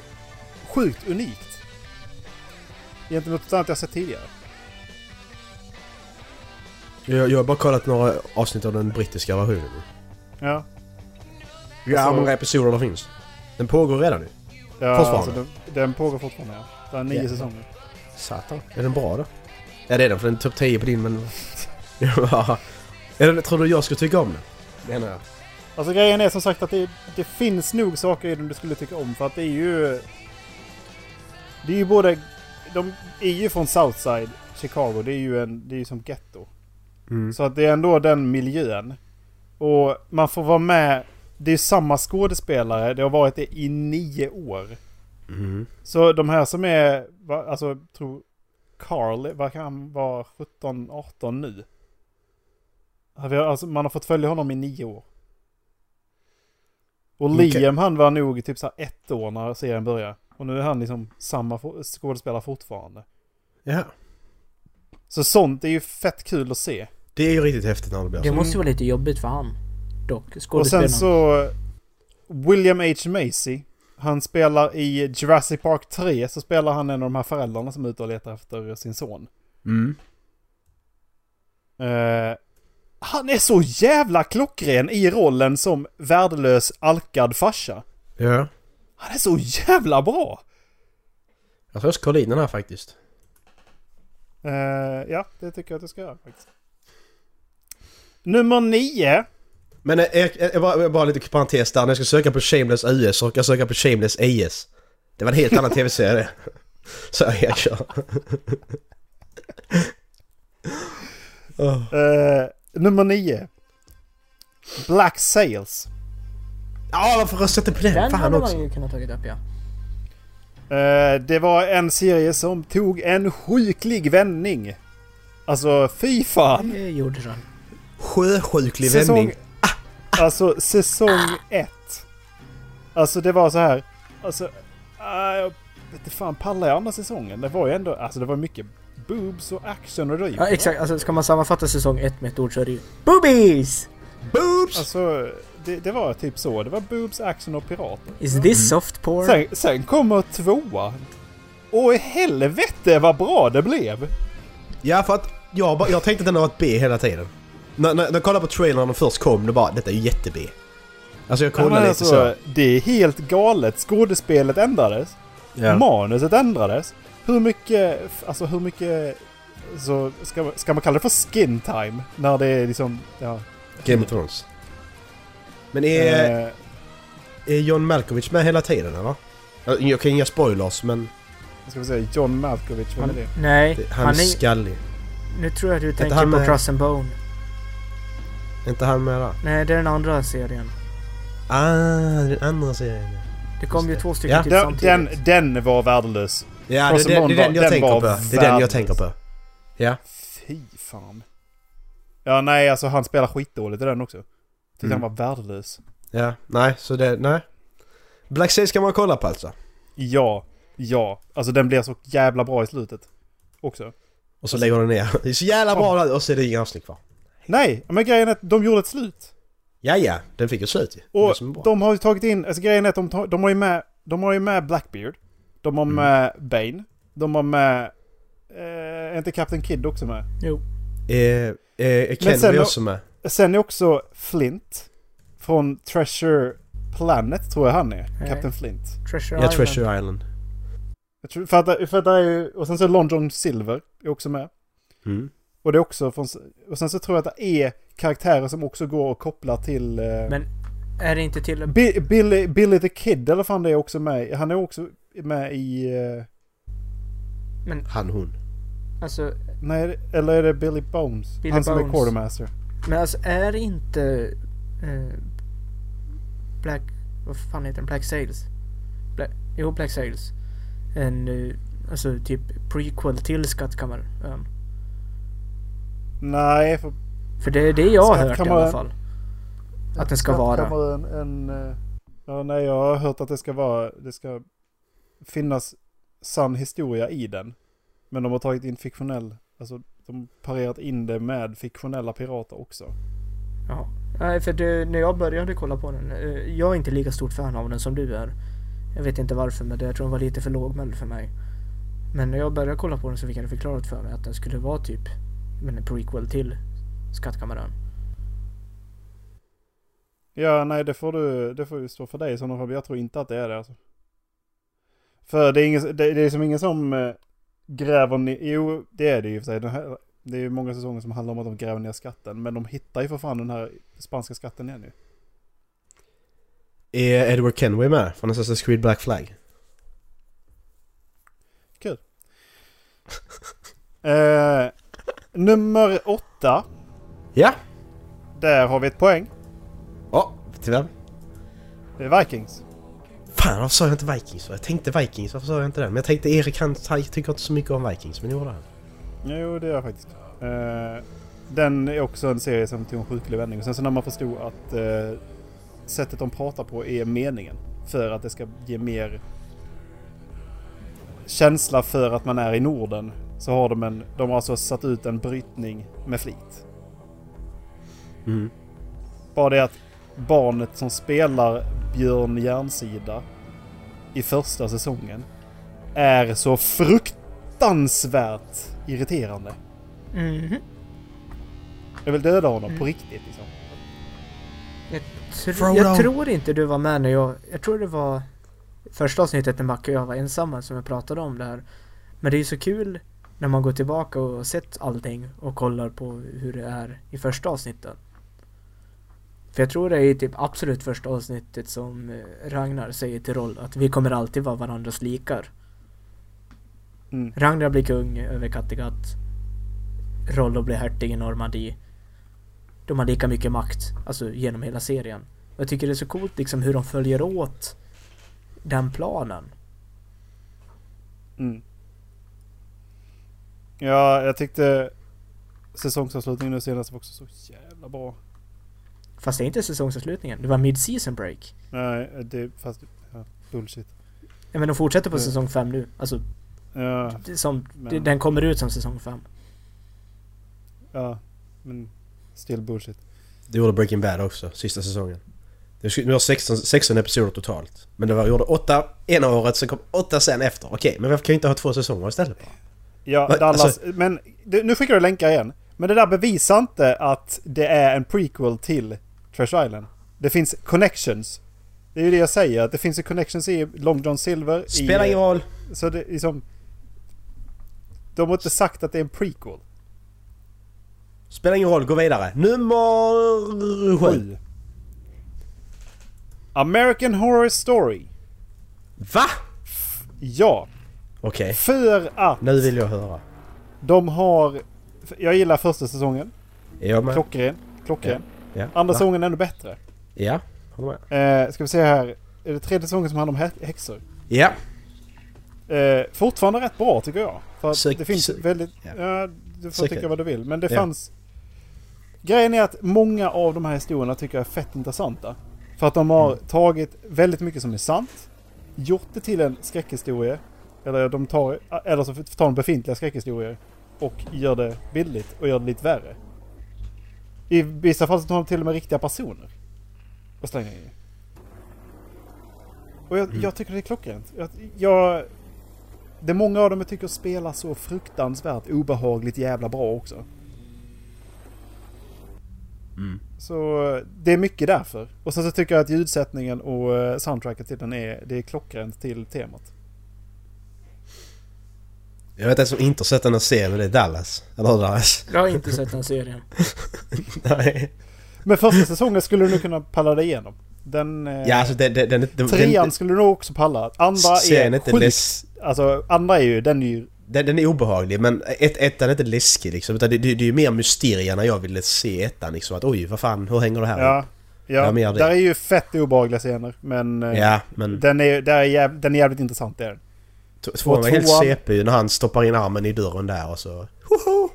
sjukt unikt. Gentemot något annat jag sett tidigare.
Jag, jag har bara kollat några avsnitt av den brittiska versionen.
Ja.
Ja,
Alltså-
hur många episoder det finns. Den pågår redan nu.
ja
Fortfarande?
Alltså, den, den pågår fortfarande ja. Den har nio
Jävlar.
säsonger.
Satan. Är den bra då? Ja det är den för den är topp 10 på din men... ja. Är den, tror du jag skulle tycka om den? Menar jag.
Alltså grejen är som sagt att det, det finns nog saker i den du skulle tycka om för att det är ju... Det är ju både... De är ju från Southside, Chicago. Det är ju en, det är ju som ghetto.
Mm.
Så att det är ändå den miljön. Och man får vara med. Det är samma skådespelare. Det har varit det i nio år.
Mm.
Så de här som är, va- alltså jag tror Carl, vad kan han vara, 17, 18 nu? Ja, vi har- Alltså, man har fått följa honom i nio år. Och
Okej.
Liam han var nog typ så här ett år när serien började. Och nu är han liksom samma fo- skådespelare fortfarande.
Ja.
Så sånt är ju fett kul att se.
Det är ju riktigt häftigt när det blir
Det
så.
måste ju vara lite jobbigt för han. Dock.
Och sen
Skådespelaren.
så eh, William H. Macy. Han spelar i Jurassic Park 3 så spelar han en av de här föräldrarna som är ute och letar efter sin son.
Mm.
Eh, han är så jävla klockren i rollen som värdelös alkad farsa.
Ja.
Han är så jävla bra!
Jag tror jag ska kolla in den här faktiskt.
Eh, ja, det tycker jag att du ska göra faktiskt. Nummer nio.
Men eh, jag, jag, jag, bara, jag bara lite parentes där. När jag ska söka på Shameless US så kan jag söka på Shameless AS. Det var en helt annan tv-serie det. Så jag erkänner. oh.
eh, nummer nio. Black Sails.
Ja, varför röstade jag inte på den?
Den
Fan
hade
också.
man ju kunnat tagit upp ja.
Eh, det var en serie som tog en sjuklig vändning. Alltså, fy fan!
Det gjorde den.
Sjösjuklig
Säsong...
vändning.
Alltså säsong ett. Alltså det var så här. Alltså... ah, jag vet inte fan, pallar jag andra säsongen? Det var ju ändå... Alltså det var mycket boobs och action och dryg.
Ja exakt, alltså ska man sammanfatta säsong ett med ett ord så är det ju Boobies!
Boobs!
Alltså det, det var typ så. Det var boobs, action och pirater.
Is
Mm.
this soft porn?
Sen, sen kommer tvåa. Och i helvete vad bra det blev!
Ja, för att jag, bara- jag tänkte att den har varit B hela tiden. När, när, när jag kollade på trailern när den först kom, det bara detta är ju jätte-B. Alltså jag kollade
Men
lite så.
Det är helt galet. Skådespelet ändrades.
Ja.
Manuset ändrades. Hur mycket, alltså hur mycket, så ska, man- ska man kalla det för skin time? När det är liksom, ja.
Game of Thrones. Men är,
eh,
är John Malkovich med hela tiden eller? Jag, jag kan inga spoilers men
ska vi säga John Malkovich, vem är det?
Nej,
det, han,
han
är
är...
skallig.
Nu tror jag du tänker
han
på
med-
Cross and Bone.
Är inte han med där?
Nej, det är den andra serien.
Ah, den andra serien.
Det kom
Just
ju
det.
två stycken
Ja.
typ
Den,
samtidigt.
den, den var värdelös.
Ja,
Cross
det, är den-
and
det är den
Bone
jag
var-
tänker
den
på.
var
Det är den jag
värdelös.
tänker på. Ja.
Fy fan. Ja, nej alltså han spelar skitdåligt i den också. Tyckte
Mm.
han var värdelös.
Ja, nej, så det, nej. Black Sea ska man kolla på alltså.
Ja, ja. Alltså den blev så jävla bra i slutet. Också.
Och så lägger du ner. Det är så jävla bra och så är det inga avsnitt kvar.
Nej, men grejen är att de gjorde ett slut.
Ja, ja, den fick ett slut ju. Det är
Och
det som är bra.
de har ju tagit in, alltså grejen är att de, tar- de har ju med, de har ju med Blackbeard. De har
Mm.
med Bane. De har med, eh, är inte Captain Kidd också med?
Jo.
Eh, eh,
Men
Ken
sen
var ju
då-
också med.
Sen är också Flint. Från Treasure Planet tror jag han är.
Nej.
Captain Flint.
Treasure
Ja,
Island.
Treasure Island.
Jag tror, för att, för att det är ju, och sen så är Long John Silver är också med.
Mm.
Och det är också från, och sen så tror jag att det är karaktärer som också går och kopplar till... Eh,
Men är det inte till...
Bi- Billy, Billy the Kid eller fan det är också med. Han är också med i... Eh,
Han, hon.
Alltså,
Nej, eller är det Billy Bones?
Billy
han som är
Bones.
quartermaster.
men alltså är det inte... Eh, Black... Vad fan heter den? Black Sails? Black, jo, Black Sails. En... Eh, alltså typ prequel till Skattkammaren.
Nej, för
För det är det jag har hört i
Skattkammaren.
alla fall. Att den ska vara.
Skattkammaren, En, en, eh, ja, nej, jag har hört att det ska vara... Det ska finnas sann historia i den. Men de har tagit in fiktionell... Alltså, de har parerat in det med fiktionella pirater också.
Ja. Nej, för det, när jag började kolla på den. eh, Jag är inte lika stort fan av den som du är. Jag vet inte varför men det, jag tror den var lite för lågmäld för mig. Men när jag började kolla på den så fick jag det förklarat för mig att den skulle vara typ men en prequel till Skattkammaren.
Ja, nej, det får du... Det får ju stå för dig i sådana fall. Jag tror inte att det är det alltså. För det är, ingen, det, det är som ingen som eh, gräver ner... Jo, det är det ju i och för sig. Den här, det är ju många säsonger som handlar om att de gräver ner skatten. Men de hittar ju för fan den här spanska skatten igen nu.
Är Eh, Edward Kenway med från Assassin's Creed Black Flag?
Eh, nummer åtta.
Ja!
Där har vi ett poäng.
Ja, tyvärr.
Det är Vikings.
Fan, varför sa jag inte Vikings? Jag tänkte Vikings, varför sa jag inte det? Men jag tänkte Erik han han tycker inte så mycket om Vikings, men det gjorde han.
Jo, det är jag faktiskt. Eh, den är också en serie som tog en sjuklig vändning. Och sen så när man förstod att eh, sättet de pratar på är meningen. För att det ska ge mer känsla för att man är i Norden. Så har de en... De har alltså satt ut en brytning med flit.
Mm.
Bara det att barnet som spelar Björn Järnsida i första säsongen är så fruktansvärt irriterande.
Mhm.
Jag vill döda honom på riktigt liksom.
Tr-
Frodo.
jag tror inte du var med när jag... Jag tror det var första avsnittet när Macke och jag var ensamma som jag pratade om det här. Men det är ju så kul när man går tillbaka och har sett allting och kollar på hur det är i första avsnittet. För jag tror det är i typ absolut första avsnittet som eh, Ragnar säger till Roll att vi kommer alltid vara varandras likar.
Mm.
Ragnar blir kung över Kattegatt. Rollo blir hertig i Normandie. De har lika mycket makt, alltså genom hela serien. Och jag tycker det är så coolt liksom hur de följer åt den planen.
Mm. Ja, jag tyckte säsongsavslutningen nu senast var också så jävla bra.
Fast det är inte säsongsavslutningen, det var mid-season break.
Nej, det fast... Ja, bullshit.
Jag menar de fortsätter på
Mm.
säsong 5 nu. Alltså,
Ja,
det är som,
Men-
det- den kommer ut som säsong 5.
ja. Men still bullshit.
Det gjorde Breaking Bad också, sista säsongen. Det skulle- Nu har 16, 16 episoder totalt. Men det var, gjorde 8 ena året, sen kom 8 sen efter. Okej, men varför kan vi inte ha två säsonger istället?
Ja,
Men,
Dallas,
alltså-
men det, nu skickar du länkar igen. Men det där bevisar inte att det är en prequel till Trash Island. Det finns connections. Det är ju det jag säger, att det finns ju connections i Long John Silver.
Spelar
i,
ingen roll.
Så det är liksom... De har inte sagt att det är en prequel.
Spelar ingen roll, gå vidare. Nummer 7.
Sju. American Horror Story.
Va?
Ja,
Okej,
för att
nu vill jag höra.
de har... Jag gillar första säsongen.
Är jag med?
Klockren. Klockren.
Ja.
Andra
Va?
säsongen ännu bättre.
Ja, håller med.
Eh, ska vi se här. Är det tredje säsongen som handlar om hä- häxor?
Ja,
Eh, fortfarande rätt bra tycker jag. För att
Sök-
det finns
sök-
väldigt...
ja.
Ja, du får
Sök-
tycka vad du vill. Men det
Ja.
fanns... Grejen är att många av de här historierna tycker jag är fett intressanta. För att de
Mm.
har tagit väldigt mycket som är sant. Gjort det till en skräckhistoria. Eller, de tar, eller så tar de befintliga skräckhistorier. Och gör det bildligt och gör det lite värre. I vissa fall så tar de till och med riktiga personer. Och slänger in. Och
Mm.
jag, jag tycker det är klockrent. Jag, jag, det är många av dem jag tycker spelar så fruktansvärt obehagligt jävla bra också.
Mm.
Så eh, det är mycket därför. Och sen så tycker jag att ljudsättningen och eh, soundtracket till den är, det är klockrent till temat.
jag vet en som inte har sett den här serien, men det är Dallas. Eller hur Dallas?
Jag har inte sett den serien.
Nej.
Men första säsongen skulle du nog kunna palla dig igenom. Den... eh,
Ja, alltså den... den, den, den
Trean skulle du nog också palla. Andra
Serien
är,
är
är
inte
sjukt...
läs-
Alltså andra är ju, den är ju...
Den, den är obehaglig men ett, ettan är inte läskig liksom. Utan det, det, det är ju mer mysterierna jag ville se i ettan liksom. Att oj, vad fan, hur hänger det här
Ja. Ja,
Ja, men jag vet.
där är ju fett obehagliga scener. Men... eh,
ja men
Den är, där är jäv, den är jävligt intressant, det är den.
t- tvåan var helt
tvåan-
CP ju när han stoppar in armen i dörren där och så... Hoho!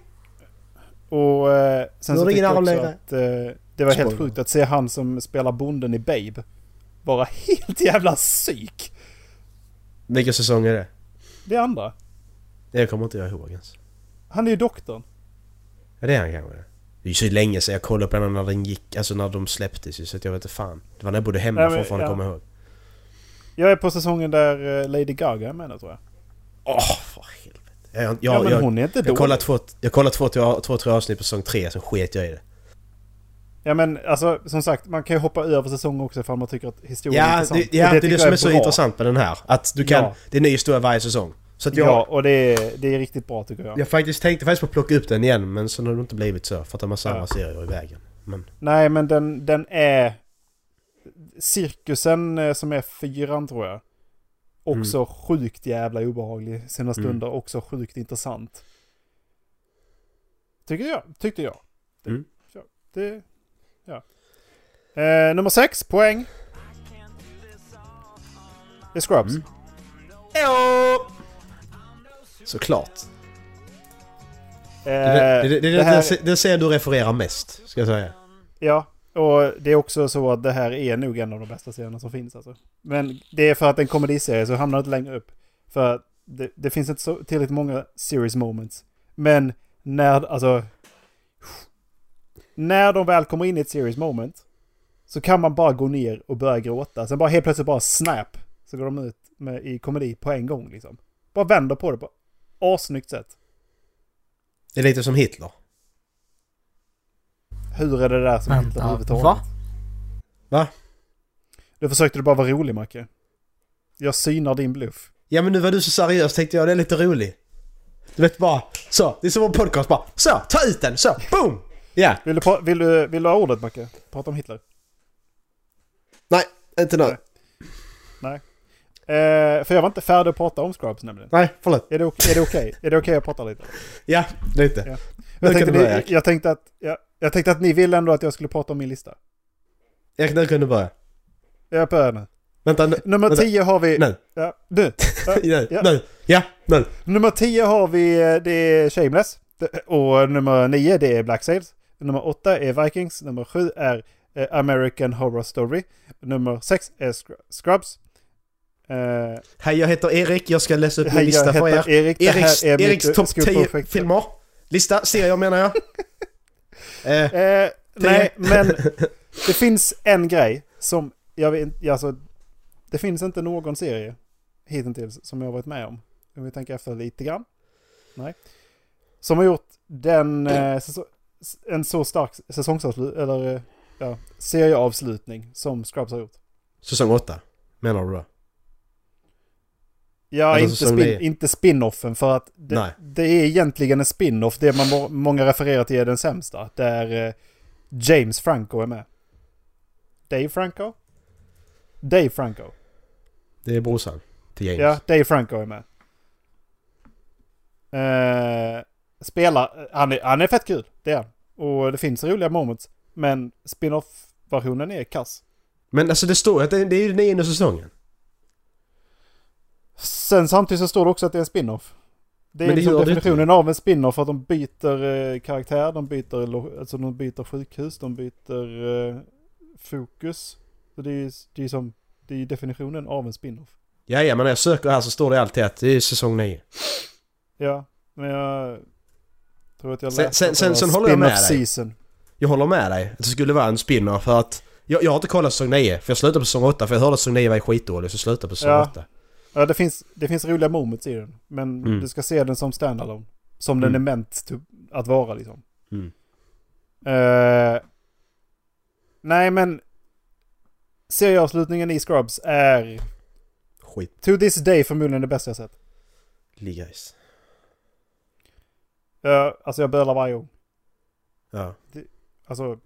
Och eh, sen
Nu
så
ringer
tyckte jag också
armlängden.
att eh, det var helt
Spoiler.
sjukt att se han som spelar bonden i Babe vara helt jävla psyk.
Vilken säsong är det?
Det andra.
Det kommer inte jag ihåg ens.
Han är ju doktorn.
Ja, det är han kanske. Det är ju så länge sedan jag kollade på den när den gick, alltså när de släpptes ju, så att jag vet inte fan. Det var när jag bodde hemma
Ja, men,
fortfarande,
ja.
kommer jag ihåg.
Jag är på säsongen där eh, Lady Gaga är med nu tror jag.
Åh, för helvete. Jag, jag,
Ja, men
jag,
hon är inte
jag
dålig.
kollade två, jag kollade två, två, två, tre avsnitt på säsong tre, sen sket jag i det.
Ja men alltså som sagt, man kan ju hoppa över säsonger också ifall man tycker att historien är
Ja,
intressant.
det, ja,
Och
det, är
tycker jag
det som är så
bra.
intressant med den här. Att du kan...
Ja.
Det är en ny historia varje säsong. Så att jag...
Ja, och det är, det är riktigt bra tycker jag.
Jag faktiskt tänkte faktiskt på att plocka upp den igen men sen har det inte blivit så för att det är massa
Ja.
andra serier i vägen. Men...
Nej, men den, den är... Cirkusen eh, som är fyran tror jag. Också
Mm.
sjukt jävla obehaglig sina stunder. Också sjukt intressant. Tycker jag. Tyckte jag. Det,
Mm.
ja, det, ja. Eh, nummer sex, poäng. Det är Scrubs.
Mm. Ja. Såklart. Det, det, det, det, det,
Eh, här-
det, det ser du refererar mest, ska jag säga.
Ja, och det är också så att det här är nog en av de bästa serierna som finns alltså. Men det är för att det är en komediserie så hamnar det inte längre upp. För att det, det finns inte så tillräckligt många serious moments. Men när, alltså... När de väl kommer in i ett serious moment så kan man bara gå ner och börja gråta. Sen bara helt plötsligt bara snap så går de ut med, i komedi på en gång liksom. Bara vänder på det på assnyggt sätt.
Det är lite som Hitler.
Hur är det där som hittar
Vänta,
överhuvudtaget?
va?
Då försökte du bara vara rolig, Macke. Jag synar din bluff.
Ja men nu var du så seriös tänkte jag, det är lite rolig. Du vet bara, så. Det är som vår podcast bara, så, ta ut den, så, boom! Ja.
Vill du, pra- vill du, vill du ha ordet, Macke? Prata om Hitler.
Nej, inte nu.
Eh, för jag var inte färdig att prata om Scrubs nämligen.
Nej, förlåt.
Är det, ok- är det okej? Är det okej att prata lite?
Ja, lite.
Ja.
Nu
Jag
kan
tänkte,
du börja.
ni, jag, tänkte att, jag, jag tänkte att ni ville ändå att jag skulle prata om min lista.
Erik, nu kan du börja.
Jag börjar nu.
Vänta, nu.
Nummer
Vänta.
10 har vi...
Nu.
Ja, nu. Ja,
Nu,
ja.
nu, ja, nu.
Nummer 10 har vi, eh, det är Shameless. Det- Och nummer 9 det är Black Sails. Nummer 8 är Vikings. Nummer 7 är eh, American Horror Story. Nummer 6 är Scr- Scrubs. Eh,
Hej, jag heter Erik. Jag ska läsa upp
Hej,
min lista
jag
för
heter
er.
Erik. Det
Eriks,
här är
Eriks
mitt
topp 10
skolprojekt.
filmer. Lista, serier menar jag. eh,
Eh, nej, men det finns en grej som jag vet inte, alltså, det finns inte någon serie hittills som jag har varit med om. Om vi tänker efter lite grann. Nej. Som har gjort den, eh, säso- en så stark säsongsavslut, eller eh, ja, serieavslutning som Scrubs har gjort.
säsong 8, menar du då?
Ja,
Eller
inte,
säsong nio.
spin, inte spin-offen för att
Nej.
det, det är egentligen en spin-off. Det man må- många refererar till är den sämsta. Där eh, James Franco är med. Dave Franco? Dave Franco.
Det är brorsan till James.
Ja, Dave Franco är med. Eh, spelar, han är, han är fett kul, det är han. Och det finns roliga moments. Men spin-off-versionen är kass.
Men alltså det står ju att det, det är ju nionde säsongen.
Sen samtidigt så står det också att det är en spin-off. Det är
Men det
liksom
gör det
definitionen av en spin-off att de byter eh, karaktär, de byter, lo- alltså de byter sjukhus, de byter eh, fokus. Så det är ju det är ju som, det är ju definitionen av en spin-off.
Ja, ja, men när jag söker här så står det alltid att det är säsong 9.
Ja, men jag tror att jag
Sen-
läste
sen-
att det
sen-
var
sen håller jag med
spin-off
dig.
season.
Jag håller med dig att det skulle vara en spinner för att jag, jag har inte kollat säsong 9 för jag slutade på säsong 8 för jag hörde att säsong 9 var skitdålig så jag slutade på säsong
Ja.
8.
Ja, det finns, det finns roliga moments i den. Men
Mm.
du ska se den som standalone. Som den
Mm.
är meant to, att vara liksom.
Mm.
Eh, nej, men serieavslutningen i Scrubs är
Skit.
to this day förmodligen det bästa jag sett.
Ligais.
Uh, alltså jag bölar varje gång.
Ja.
Alltså...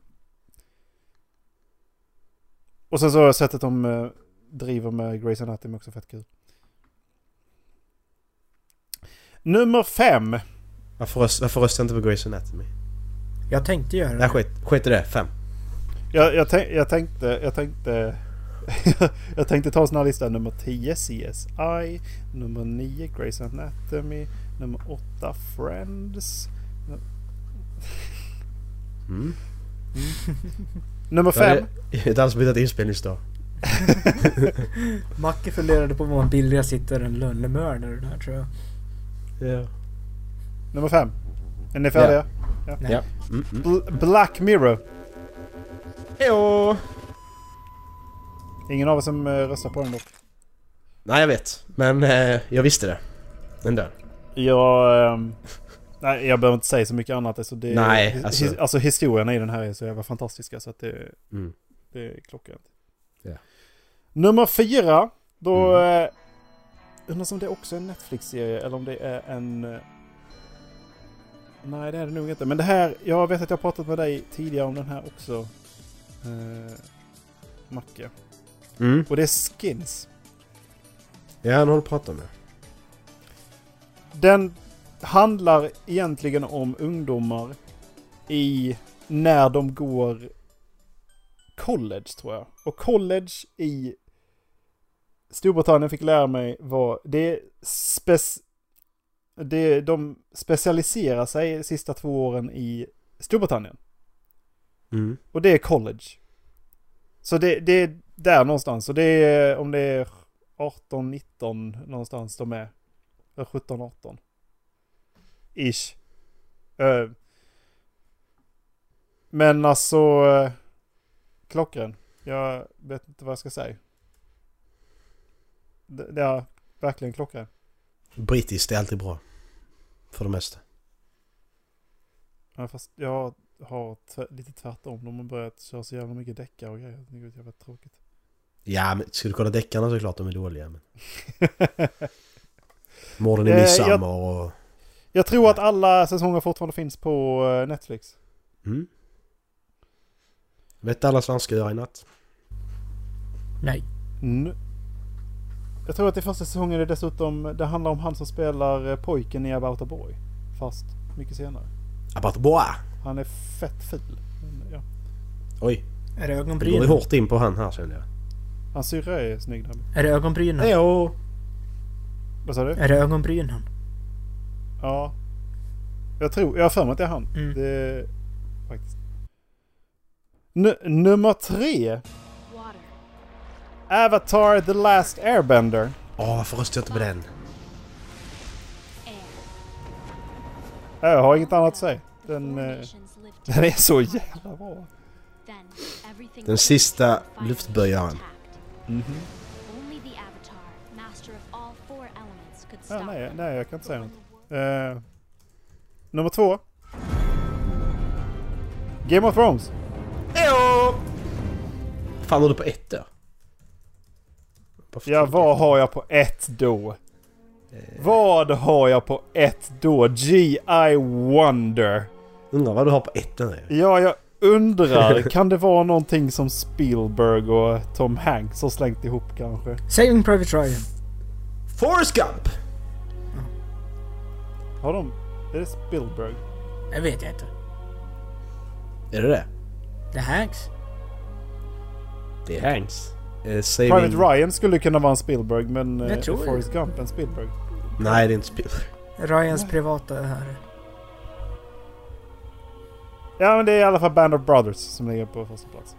Och sen så har jag sett att de eh, driver med Grey's Anatomy också fett kul. Nummer fem.
Varför, röst, varför röstar jag inte på Grey's Anatomy?
Jag tänkte göra
Nej,
det.
skit, skit i det. 5.
Jag, jag, tänk, jag tänkte... Jag tänkte... jag tänkte ta en sån här lista. Nummer 10 CSI. Nummer 9 Grey's Anatomy. Nummer 8 Friends.
Mm.
Nummer
Jag
fem.
hade inte alls bytt inspelningsdag.
Macke funderade på vad man billigare sitter än lönnmördare där tror jag.
Ja.
Nummer fem. Är ni färdiga?
Mm, mm.
Bl- Black Mirror.
Hejo!
Ingen av oss som eh, röstar på den dock.
Nej, jag vet. Men eh, jag visste det. Ändå.
Jag... ehm, nej, jag behöver inte säga så mycket annat. Alltså, det,
Nej,
his,
alltså-
his, alltså historierna i den här är så jävla fantastiska så att det,
Mm.
det är klockrent.
Ja.
Nummer fyra. Då... eh, undrar om det också är en Netflix-serie eller om det är en... eh, Nej, det är det nog inte. Men det här... Jag vet att jag har pratat med dig tidigare om den här också. Eh, Macke.
Mm.
Och det är Skins.
Ja, han håller på att prata om det.
Den handlar egentligen om ungdomar i när de går college tror jag. Och college i Storbritannien fick lära mig vad det är spec... Det, de specialiserar sig de sista två åren i Storbritannien.
Mm.
Och det är college. Så det, det är där någonstans. Och det är om det är 18-19 någonstans de är. Eller 17-18. Ish. Eh, men alltså... Uh, klockren. Jag vet inte vad jag ska säga. Det, det är verkligen klockren.
Brittiskt är alltid bra. För det mesta.
Ja, fast jag har t- lite tvärtom. De har börjat köra så jävla mycket däckar och grejer. Det är jävla tråkigt.
Ja, men ska du kolla deckarna så är det klart de är dåliga. Men... Morden i
Eh, jag-
midsommar och...
Jag tror att alla säsonger fortfarande finns på eh, Netflix.
Mm. Vet alla svenskar göra i natt?
Nej.
Mm. Jag tror att i första säsongen är det dessutom, det handlar om han som spelar eh, pojken i About a Boy. Fast mycket senare.
Apart boa!
Han är fett ful. Men, ja.
Oj,
Är det
det går ju
ögonbrynen?
hårt in på han här känner jag.
Hans syrra är snygg där.
Är det ögonbrynen?
Hejo!
Vad sa du?
Är det ögonbrynen?
Ja. Jag tror, jag har för mig att det är han.
Mm.
Det faktiskt. Nu- nummer tre.
Water.
Avatar The Last Airbender.
Åh, oh, varför röstade jag inte på den?
Air.
Jag har inget annat att säga. Den,
The four
eh,
nations lived
den är så
together.
jävla bra.
Then everything
Den
was
sista
finally
luftböjaren.
intact.
Mhm.
Only the Avatar, master of all four elements, could
Ja,
stop
nej,
them.
nej, jag kan inte säga något.
But when the world
Eh, nummer två. Game of Thrones.
Hejo! Fan, har du på ett då? Varför
Ja,
tog
vad har jag på ett då? Eh. Vad har jag på ett då? G.I. Wonder.
jag? Undrar vad du har på ett nu.
Ja, jag undrar. kan det vara någonting som Spielberg och Tom Hanks har slängt ihop kanske?
Saving Private Ryan.
Forrest Gump!
Har de... Är det Spielberg?
Det vet jag inte.
Är det det?
Det Hanks?
Det är Hanks. Eh, saving...
Private Ryan skulle kunna vara en Spielberg, men
Jag
eh,
tror det.
Forrest Gump en Spielberg.
Nej, det är inte Spielberg.
Ryans privata här.
Ja, men det är i alla fall Band of Brothers som ligger på första plats.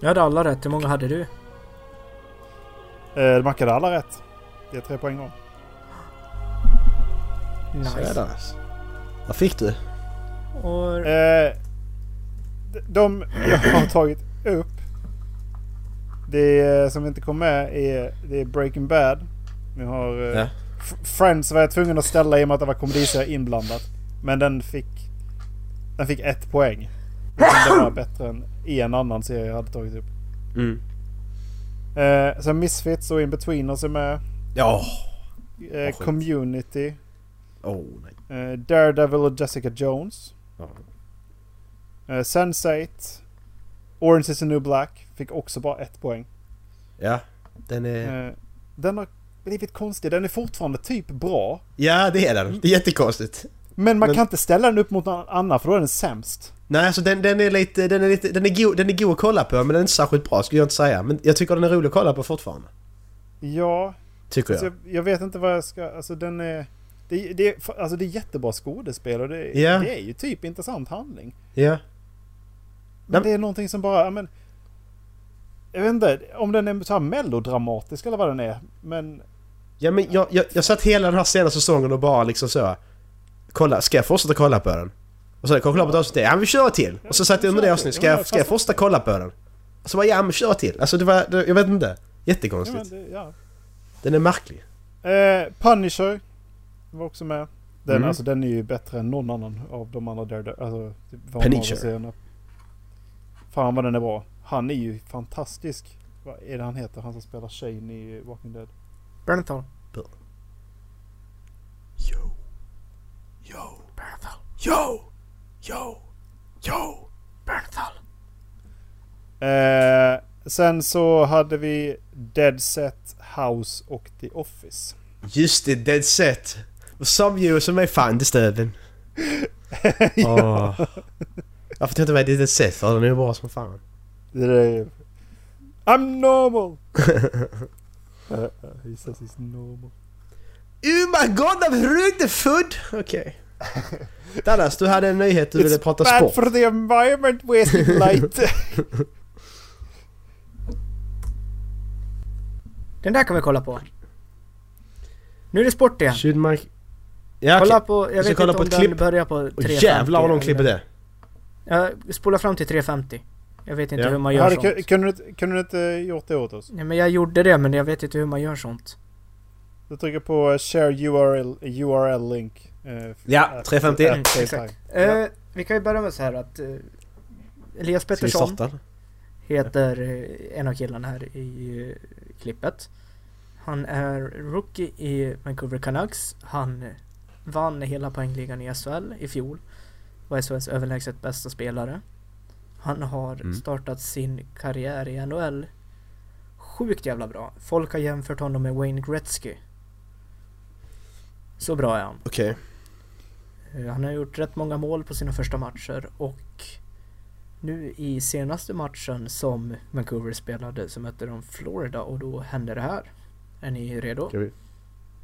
Jag hade alla rätt. Hur många hade du?
Eh, Mackan hade alla rätt. Det är tre poäng om.
Nice.
Sådär. Vad fick du?
Och...
Eh, d- de jag har tagit upp, det eh, som inte kom med är, det är Breaking Bad. Vi har eh,
Ja.
F- Friends var jag tvungen att ställa i och med att det var komediserie inblandat. Men den fick, den fick ett poäng. Men Det var bättre än en annan serie jag hade tagit upp.
Mm.
Eh, sen Misfits och Inbetweeners är med.
Ja.
Eh,
skönt.
community.
Åh, oh, nej.
Eh, Daredevil och Jessica Jones.
Ja.
Eh, Sense8. Orange is the new black. Fick också bara ett poäng.
Ja, den är...
Eh, den har blivit konstig. Den är fortfarande typ bra.
Ja, det är den. Det är jättekonstigt.
Men man
Men-
kan inte ställa den upp mot någon annan för då är den sämst.
Nej, alltså den, den är lite... Den är lite... Den är, god, den är god att kolla på, men den är inte särskilt bra skulle jag inte säga. Men jag tycker den är rolig att kolla på fortfarande.
Ja,
Tycker
alltså,
jag.
jag, jag vet inte vad jag ska... Alltså den är... Det, det, är- alltså det är jättebra skådespel och det,
Ja.
det är ju typ intressant handling.
Ja.
Men
Nej,
det är någonting som bara... ja, Men, jag vet inte om den är så här melodramatisk eller vad den är. Men
Ja, men jag, jag, jag satt hela den här senaste säsongen och bara liksom så... Kolla, ska jag fortsätta kolla på den? Och så hade jag kollat på ett avsnitt till, ja men vi kör till! Och så satt jag under det avsnittet, ska jag, ska jag fortsätta kolla på den? Och så bara, ja men kör till! Alltså det var, det, jag vet inte.
Ja, men
Jättekonstigt.
det, ja.
Den är märklig.
eh, Punisher var också med. Den,
Mm.
alltså, den är ju bättre än någon annan av de andra Daredevil. Alltså, typ, vad
Punisher.
man har serierna. Fan vad den är bra. Han är ju fantastisk. Vad är det han heter? Han som spelar Shane i Walking Dead.
Bernthal.
Yo. Yo. Bernthal. Yo. Yo. Yo. Bernthal.
Eh, sen så hade vi Dead Set, House och The Office.
Just det, dead set. Some you som är fan disturbing. Åh. Varför tror jag inte vad det är set för? Den är ju bra som fan. Oh
Det där är... I'm normal! Eh, eh, He says he's normal.
Oh my god, I've ruined the food! Okej. Dallas, du hade en nyhet du ville prata
bad
sport.
for the environment wasting light.
Den där kan vi kolla på. Nu är det sport igen.
Should my... Ja,
Kolla
kolla
på, jag
ska
vet
kolla
inte
på
om
ett
den
klipp.
börjar på
på
3.50.
jävlar vad de klipper det.
Jag spolar fram till 3.50. Jag vet inte
Ja.
hur man gör
Hade,
sånt.
ku- kunde, du, inte- kunde du inte eh, gjort det åt oss?
Nej men jag gjorde det men jag vet inte hur man gör sånt.
Du trycker på eh, share URL, URL link. eh, f-
Ja, Mm, 351.
at same
Exakt.
time.
Eh,
Ja.
vi kan ju börja med så här att eh, Elias
Ska vi
Pettersson
starta?
heter eh, en av killarna här i eh, klippet. Han är rookie i Vancouver Canucks. Han eh, vann hela poängligan i SHL i fjol. Var SHLs överlägset bästa spelare. Han har
Mm.
startat sin karriär i NHL sjukt jävla bra. Folk har jämfört honom med Wayne Gretzky. Så bra är han.
Okej.
Eh, Han har gjort rätt många mål på sina första matcher och nu i senaste matchen som Vancouver spelade så mötte de Florida och då hände det här. Är ni redo?
Ska vi-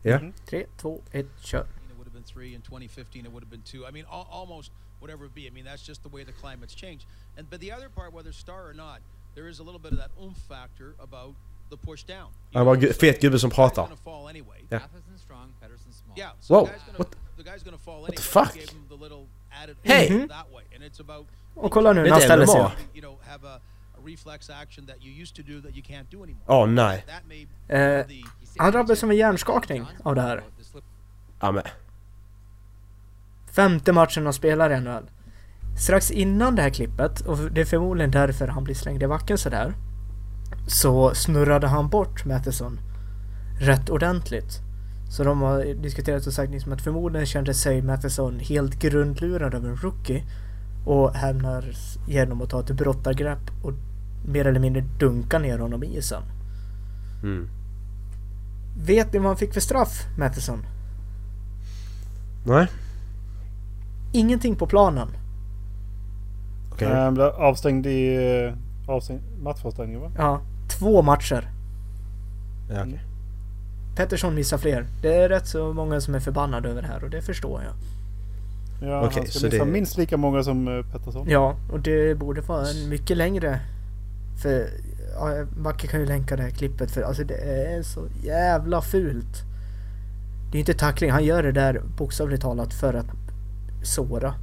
Ja.
Mhm.
3, 2, 1, kör!
It would have been three. In 2015, it would have been two. I mean, al- almost whatever it be. I mean, that's just the way the climate's changed. And but the other part, whether star or not, there is a little bit of that oomph factor about the push down. You
Han var
know,
en fet gubbe som
guy's
pratar.
gonna fall anyway.
Yeah.
Patterson strong, Patterson small.
Yeah. So
Whoa,
The guy's gonna,
what
the guy's gonna fall
the
anyway.
fuck?
We gave him the little added
Hey. Mm-hmm.
oomph that way, and it's about
Och kolla nu när han
Det är
ställer sig
MMA.
upp.
you know have a, a reflex action that you used to do that you can't do anymore.
Åh nej.
That may
Uh,
Eh,
be the
han drabbades som en hjärnskakning av det här.
Ja men.
Femte matchen han spelar i NHL. Strax innan det här klippet, och det är förmodligen därför han blir slängd i backen sådär, så snurrade han bort Matheson rätt ordentligt. Så de har diskuterat och sagt liksom att förmodligen kände sig Matheson helt grundlurad av en rookie och hamnar genom att ta ett brottargrepp och mer eller mindre dunka ner honom i isen.
Mm.
Vet ni vad han fick för straff, Matheson?
Nej.
Ingenting på planen.
Okej.
Eh, blev avstängd i... eh, Avstängd, matchavstängning va?
Ja, två matcher.
Ja, okej.
Pettersson missar fler. Det är rätt så många som är förbannade över det här och det förstår jag.
Ja,
Okej,
han
så
ska missa
det-
minst lika många som eh, Pettersson.
Ja, och det borde vara en mycket längre. För ja, Macke kan ju länka det här klippet för alltså det är så jävla fult. Det är inte tackling, han gör det där bokstavligt talat för att såra.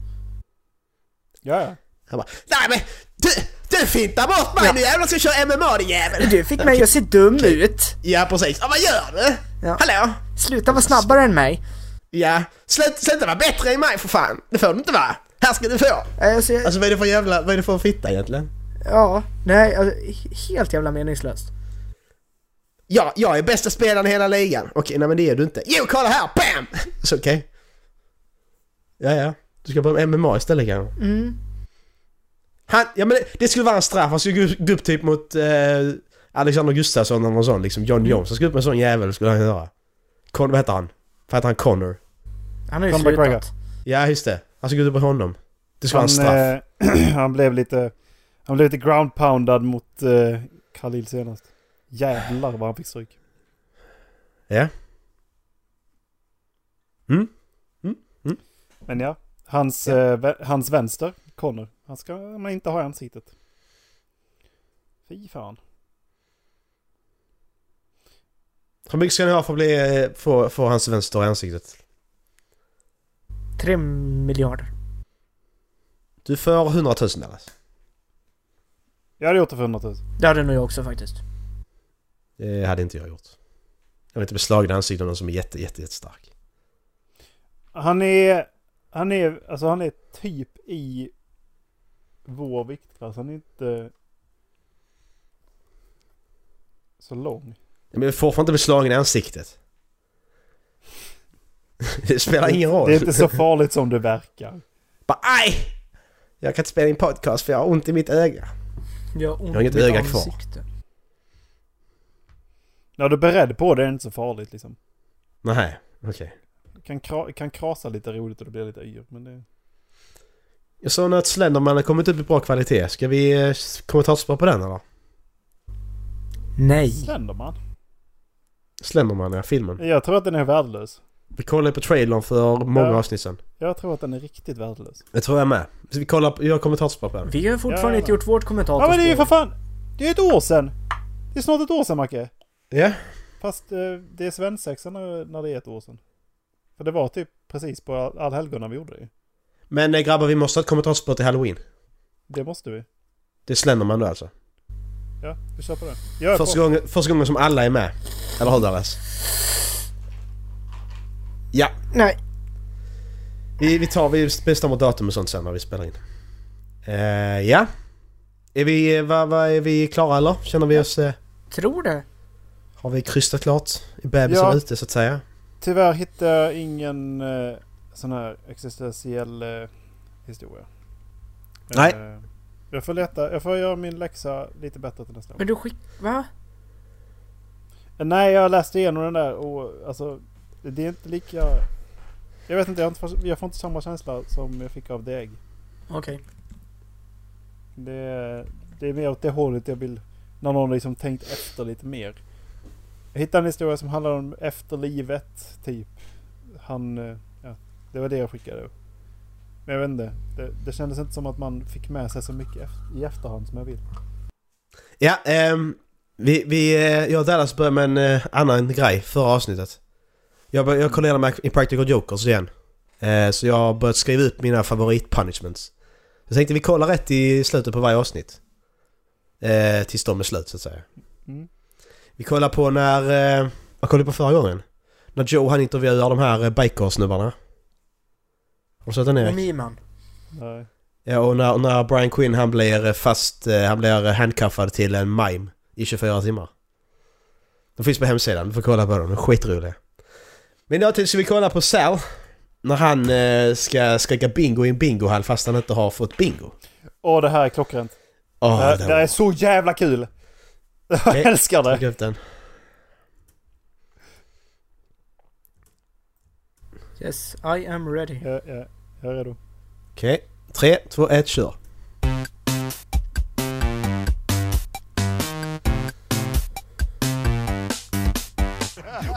Ja, ja.
Han bara Nej men! Du! Du fintar bort mig
Ja.
nu jävlar ska jag köra MMA din jävel!
Du fick mig att se dum ut!
Ja precis. Ja vad gör du?
Ja.
Hallå?
Sluta vara snabbare än mig!
Ja. Sluta, sluta vara bättre än mig för fan! Det får du inte vara! Här ska du få!
Alltså, jag-
Alltså vad är det för jävla, vad är det för fitta egentligen?
ja, nej, alltså, he- helt jävla meningslöst.
Ja, jag är bästa spelaren i hela ligan. Okej, nej men det är du inte. Jo, kolla här! BAM! Så Alltså, okej. Ja, ja. Du ska börja med MMA istället kanske?
Mm.
Han, ja men det, det skulle vara en straff. Han skulle gå- gå upp typ mot eh, Alexander Gustafsson eller någon sån liksom. John Jones. Han skulle upp med en sån jävel skulle han göra. Con, vad heter han? Vad heter han? Connor?
Han har ju
Conor McGregor.
slutat.
Ja, just det. Han skulle gå upp med honom. Det skulle vara en straff.
Han, eh, han blev lite... Han blev lite ground poundad mot eh, Khalil senast. Jävlar vad han fick stryk.
Ja. Mm.
Men ja, hans, eh, vä- hans vänster Connor. Han ska man inte ha i ansiktet. Fy fan.
Hur mycket ska ni ha för att bli, eh, få, få hans vänster i ansiktet?
Tre miljarder.
Du får 100 000 Dallas.
Jag hade gjort det för 100 000.
Det hade nog jag också faktiskt.
Det hade inte jag gjort. Jag vill inte beslagna ansiktet av någon som är jätte, jätte, jättestark.
Han är... Han är, alltså han är typ i vår viktklass. Han är inte så lång.
Men jag får fan inte beslagna ansiktet. Det spelar ingen roll.
Det är inte så farligt som det verkar.
Bara aj! Jag kan inte spela in podcast för jag har ont i mitt öga.
Jag har, ont
har inget
i mitt
öga kvar.
ansikte.
När du är beredd på det är det inte så farligt liksom.
Nej, okej.
Kan, kra, kan krasa lite roligt och det blir lite yr. Men det...
Jag såg att Slenderman har kommit upp i bra kvalitet. Ska vi eh, kommentarsspara på den eller?
Nej.
Slenderman?
Slenderman, ja. Filmen.
Jag tror att den är värdelös.
Vi kollade på trailern för många
Ja.
avsnitt sedan.
Jag tror att den är riktigt värdelös.
Det tror jag med. Så vi kollar på, jag kommentarsspara på den.
Vi har
Ja,
fortfarande
ja,
inte
ja.
gjort vårt kommentatorspår.
Ja men det är ju för fan! Det är ett år sedan! Det är snart ett år sedan Macke!
Ja.
Fast eh, det är svensexa när, när det är ett år sedan. För det var typ precis på all- allhelgona vi gjorde det ju.
Men eh, grabbar, vi måste ha ett kommentarsspår till Halloween.
Det måste vi.
Det är Slenderman då alltså.
Ja, vi kör på det. Jag är
Första
på.
gången, första gången som alla är med. Eller hur Dallas? Ja.
Nej.
Vi, vi tar, vi bestämmer datum och sånt sen när vi spelar in. Eh, ja. Är vi, vad, vad, är vi klara eller? Känner vi oss... eh,
Tror det.
Har vi krystat klart? Är bebisen
Ja.
ute så att säga?
Tyvärr hittar jag ingen eh, sån här existentiell eh, historia.
Nej.
Eh, jag får leta, jag får göra min läxa lite bättre till nästa gång.
Men du skick... Va?
Eh, Nej, jag läste igenom den där och alltså det är inte lika... Jag vet inte, jag, har inte, fått- jag får inte samma känsla som jag fick av Deg.
Okej.
Det är, det är mer åt det hållet jag vill. När någon liksom tänkt efter lite mer. Jag hittade en historia som handlar om efterlivet, typ. Han, eh, ja, det var det jag skickade. Men jag vet inte. Det, det kändes inte som att man fick med sig så mycket eft- i efterhand som jag vill.
Ja, ehm, vi, vi, eh, jag och Dallas började med en eh, annan grej förra avsnittet. Jag, bör, jag kollar med Impractical Jokers igen. Eh, så jag har börjat skriva upp mina favoritpunishments. Jag tänkte vi kollar rätt i slutet på varje avsnitt. Eh, tills de är slut så att säga.
Mm.
Vi kollar på när... Eh, vad kollade vi på förra gången? När Joe han intervjuar de här eh, biker-snubbarna. Har du sett den Erik?
Miman.
Nej.
Ja, och när, när Brian Quinn han blir fast, eh, han blir handcuffad till en mime i 24 timmar. De finns på hemsidan, du får kolla på dem, de är skitroliga. Men då till ska vi kolla på Sal. När han eh, ska skrika bingo i en bingohall fast han inte har fått bingo.
Åh, det här är klockrent.
Åh,
det, här,
det
det här är så jävla kul! Jag
Nej.
älskar
var-
det!
tryck upp den.
Yes, I am ready.
Jag, jag, jag är redo.
Okej, tre, två, ett, kör.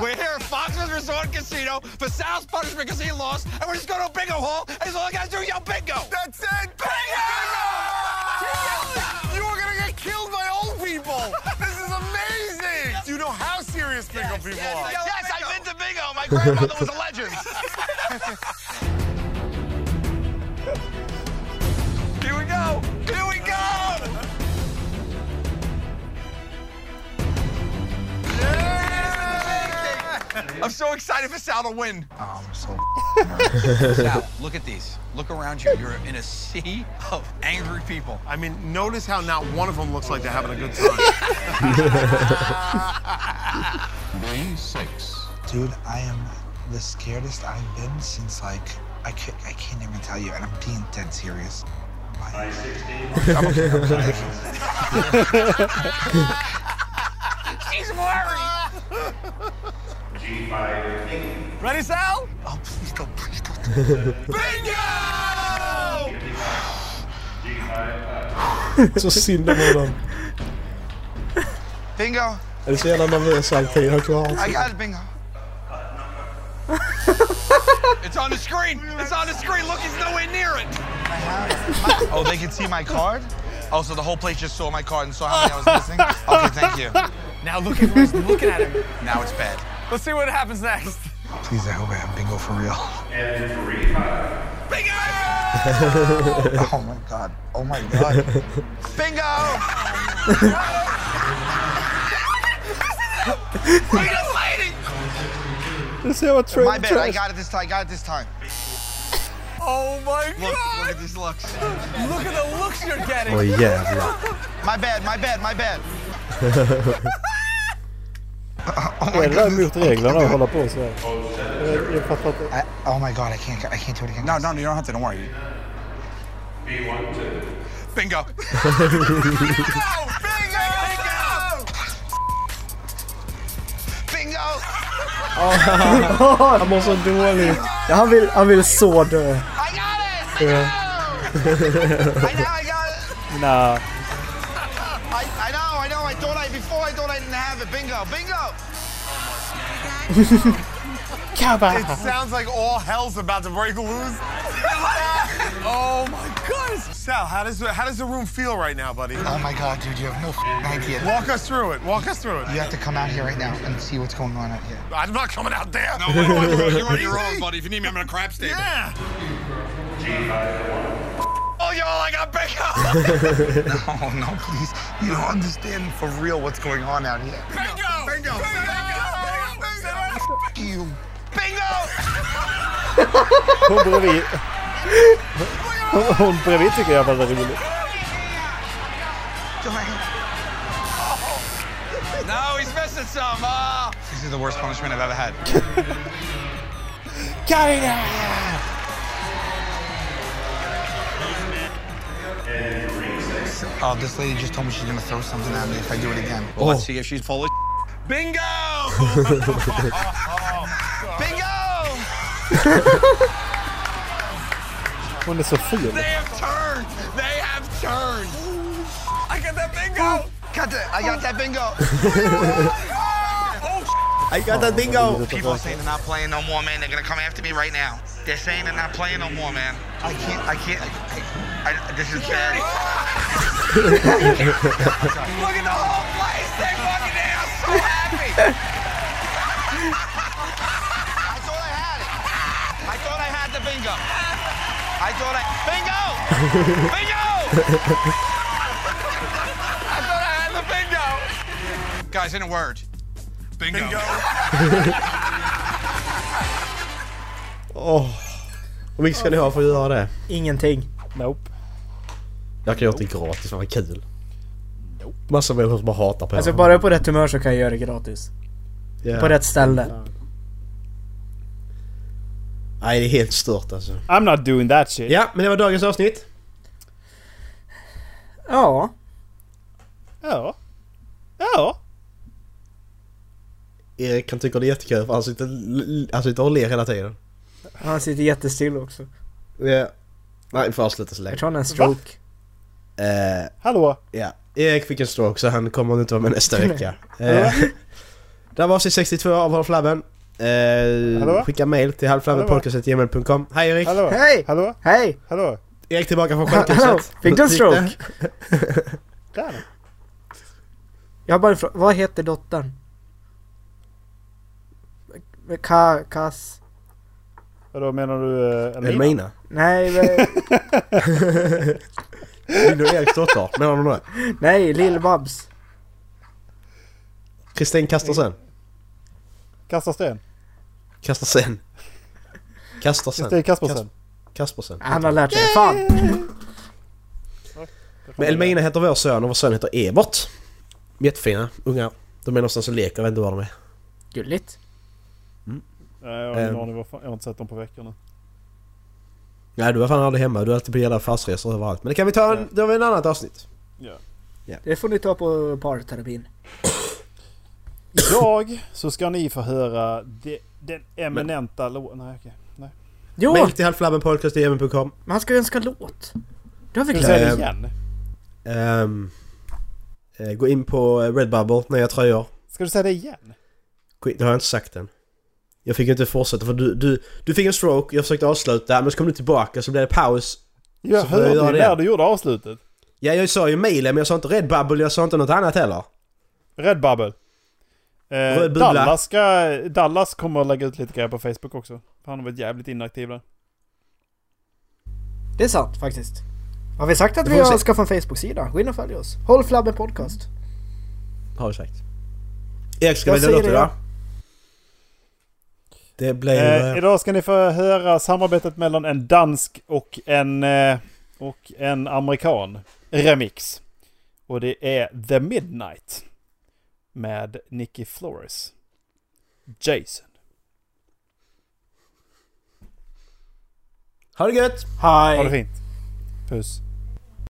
We're here at Foxman's Resort and Casino for Sal's punishment because he lost, and we're just going to a bingo hall, and he's all I got to do is yell bingo! That's it! Bingo! You are going to get killed by old people! This is amazing! Do you know how serious bingo people are? Yes, I've been to bingo! My grandmother was a legend! Here we go! Here we go! I'm so excited for Sal to win. Oh, I'm so nervous. Sal, look at these. Look around you. You're in a sea of angry people.
I mean, notice how not one of them looks like they're having a good time.
Dude, I am the scaredest I've been since like I can't I can't even tell you, and I'm being dead serious. My, I'm okay, I'm okay.
He's worried. Ready, Sal?
oh please don't please don't
Bingo!
Så synd om honom.
Bingo.
Jag är så jävla nervös alltid, jag klarar
I got it, bingo. it's on the screen. It's on the screen. Look, he's nowhere near it.
I have? oh, they can see my card? Oh, so the whole place just saw my card and saw how many I was missing? Okay, thank you.
Now look at Riz looking at him.
Now it's bad.
Let's see what happens next.
Please, I hope I have bingo for real.
Bingo!
Oh my god. Oh my god.
Bingo! Look at this lady!
Let's see what Trey
my bad. I got it this time. I got it this time.
Oh my
Look, look
god!
at these looks.
Look at the looks you're getting!
Oj jävlar.
My bad. My bad. My bad.
Är det där mot reglerna att hålla på så här? Jag, jag fattar inte.
I, oh my god. I can't. I can't do it again.
No, no, you don't have to. Don't worry.
Bingo.
Bingo!
Bingo.
Han mår så dåligt.
Ja, han, vill, han vill så dö.
I got it. Bingo. I know. I got it.
Nah.
I, I know. I know. I thought I before. I thought I didn't have it. Bingo. Bingo.
It sounds like all hell's about to break loose. oh my goodness! Sal, how does how does the room feel right now, buddy?
Oh my god, dude. You have no f***ing idea.
Walk us through it. Walk us through it.
You have to come out here right now and see what's going on out here.
I'm not coming out there.
No, wait, wait, wait, you're already wrong, buddy. If you need me, I'm in a crap state.
Yeah. Oh, y'all, I got bingo!
No,
Oh,
no, please. You don't understand for real what's going on out here.
Bingo! Bingo! Bingo!
F- you.
Bingo!
Hon bredvid. Hon- Hon bredvid tycker jag var väldigt rolig.
No, he's missing some. Uh,
This is the worst punishment I've ever had. Oh, this lady just told me she's gonna throw something at me if I do it again.
Let's see if she's full of.
Bingo!
Bingo!
Hon är så ful.
They have turned! They have turned! I got that bingo!
Got that? I got that bingo. Oh,
I got that bingo!
People are saying they're not playing no more, man. They're gonna come after me right now. They're saying they're not playing no more, man. I can't. I can't. I, I, I, this is bad.
Look at the whole place! They fucking they are so happy!
I thought I had it. I thought I had the bingo. I thought I bingo.
Bingo! I thought I had the bingo!
Guys, in a word. Bingo.
Åh. Hur mycket ska ni ha för att göra det?
Ingenting.
Nope.
Jag kan göra det gratis, fan vad kul. Massa människor som bara hatar på
Alltså
er.
bara på rätt humör så kan jag göra det gratis.
Ja.
På rätt ställe.
Nej, det är helt stört alltså.
I'm not doing that shit.
Ja, men det var dagens avsnitt.
Ja.
Ja. Ja.
Erik han tycker det är jättekul för han sitter, han sitter och ler hela tiden.
Han sitter jättestill också.
Ja. Nej, vi får avsluta så länge.
Jag tror han har en stroke.
Eh,
Hallå.
Ja, Erik fick en stroke så han kommer inte vara med nästa vecka. Eh, det här var avsnitt 62 av Håll Flabben. Eh,
Hallå?
skicka mail till halvflabbenpodcast.gmail.com Hej Erik!
Hallå.
Hej!
Hallå.
Hej!
Hallå.
Erik tillbaka från
Hallå!
sjukhuset.
Fick du en stroke?
det?
Där.
Jag har bara en fråga. Vad heter dottern? Ka... Kas...
Vadå menar du eh, Elmina?
Elmina.
Nej, men-
Vill du Eriks dotter? Menar du det?
nej, Lill-Babs.
Kristin Kastersen.
Kastar sten.
Kastersen. Kastersen.
Kristin Kaspersen.
Kas- Kaspersen.
Han har lärt sig. Fan!
Men Elmina heter vår son och vår son heter Ebert. Jättefina ungar. De är någonstans och leker, jag vet inte var de är.
Gulligt.
Nej, jag har ingen
Ehm.
aning varför. Jag har inte sett dem på veckorna.
Nej, du var fan aldrig hemma. Du är alltid på jävla affärsresor överallt. Men det kan vi ta, en, det har vi en annat avsnitt.
Ja.
Det får ni ta på parterapin.
Idag så ska ni få höra de, den eminenta låten... Nej okej. Nej.
Jo,
Mail till halvflabbenpodcast.com
men han ska ju önska låt. Det har vi
Ska vi säga
glömt.
det
Ehm.
igen?
Ehm, eh, Gå in på eh, Redbubble, nya tröjor.
Ska du säga det igen?
Gå in- Det har jag inte sagt än. Jag fick ju inte fortsätta för du, du, du fick en stroke, jag försökte avsluta men så kom du tillbaka så blev det paus.
Jag
Så får jag
hörde
göra
ju
det.
när du gjorde avslutet.
Ja, jag sa ju Milen, men jag sa inte Redbubble, jag sa inte något annat heller.
Redbubble. Eh,
Röd bubbla.
Dallas, ska, Dallas kommer att lägga ut lite grejer på Facebook också. Han har varit jävligt inaktiv där.
Det är sant faktiskt. Har vi sagt att
Det
vi
får vi
har
se.
skaffat en Facebook-sida? Gå in och följ oss. Håll flabben podcast.
Har du sagt. Erik ska
Jag
välja
säger
låt
det,
idag.
ja.
Det blir...
Eh,
Eh,
idag ska ni få höra samarbetet mellan en dansk och en, eh, och en amerikan. Remix. Och det är The Midnight. Med Nicky Flores. Jason.
Ha det gött!
Ha det
Hej!
fint. Puss.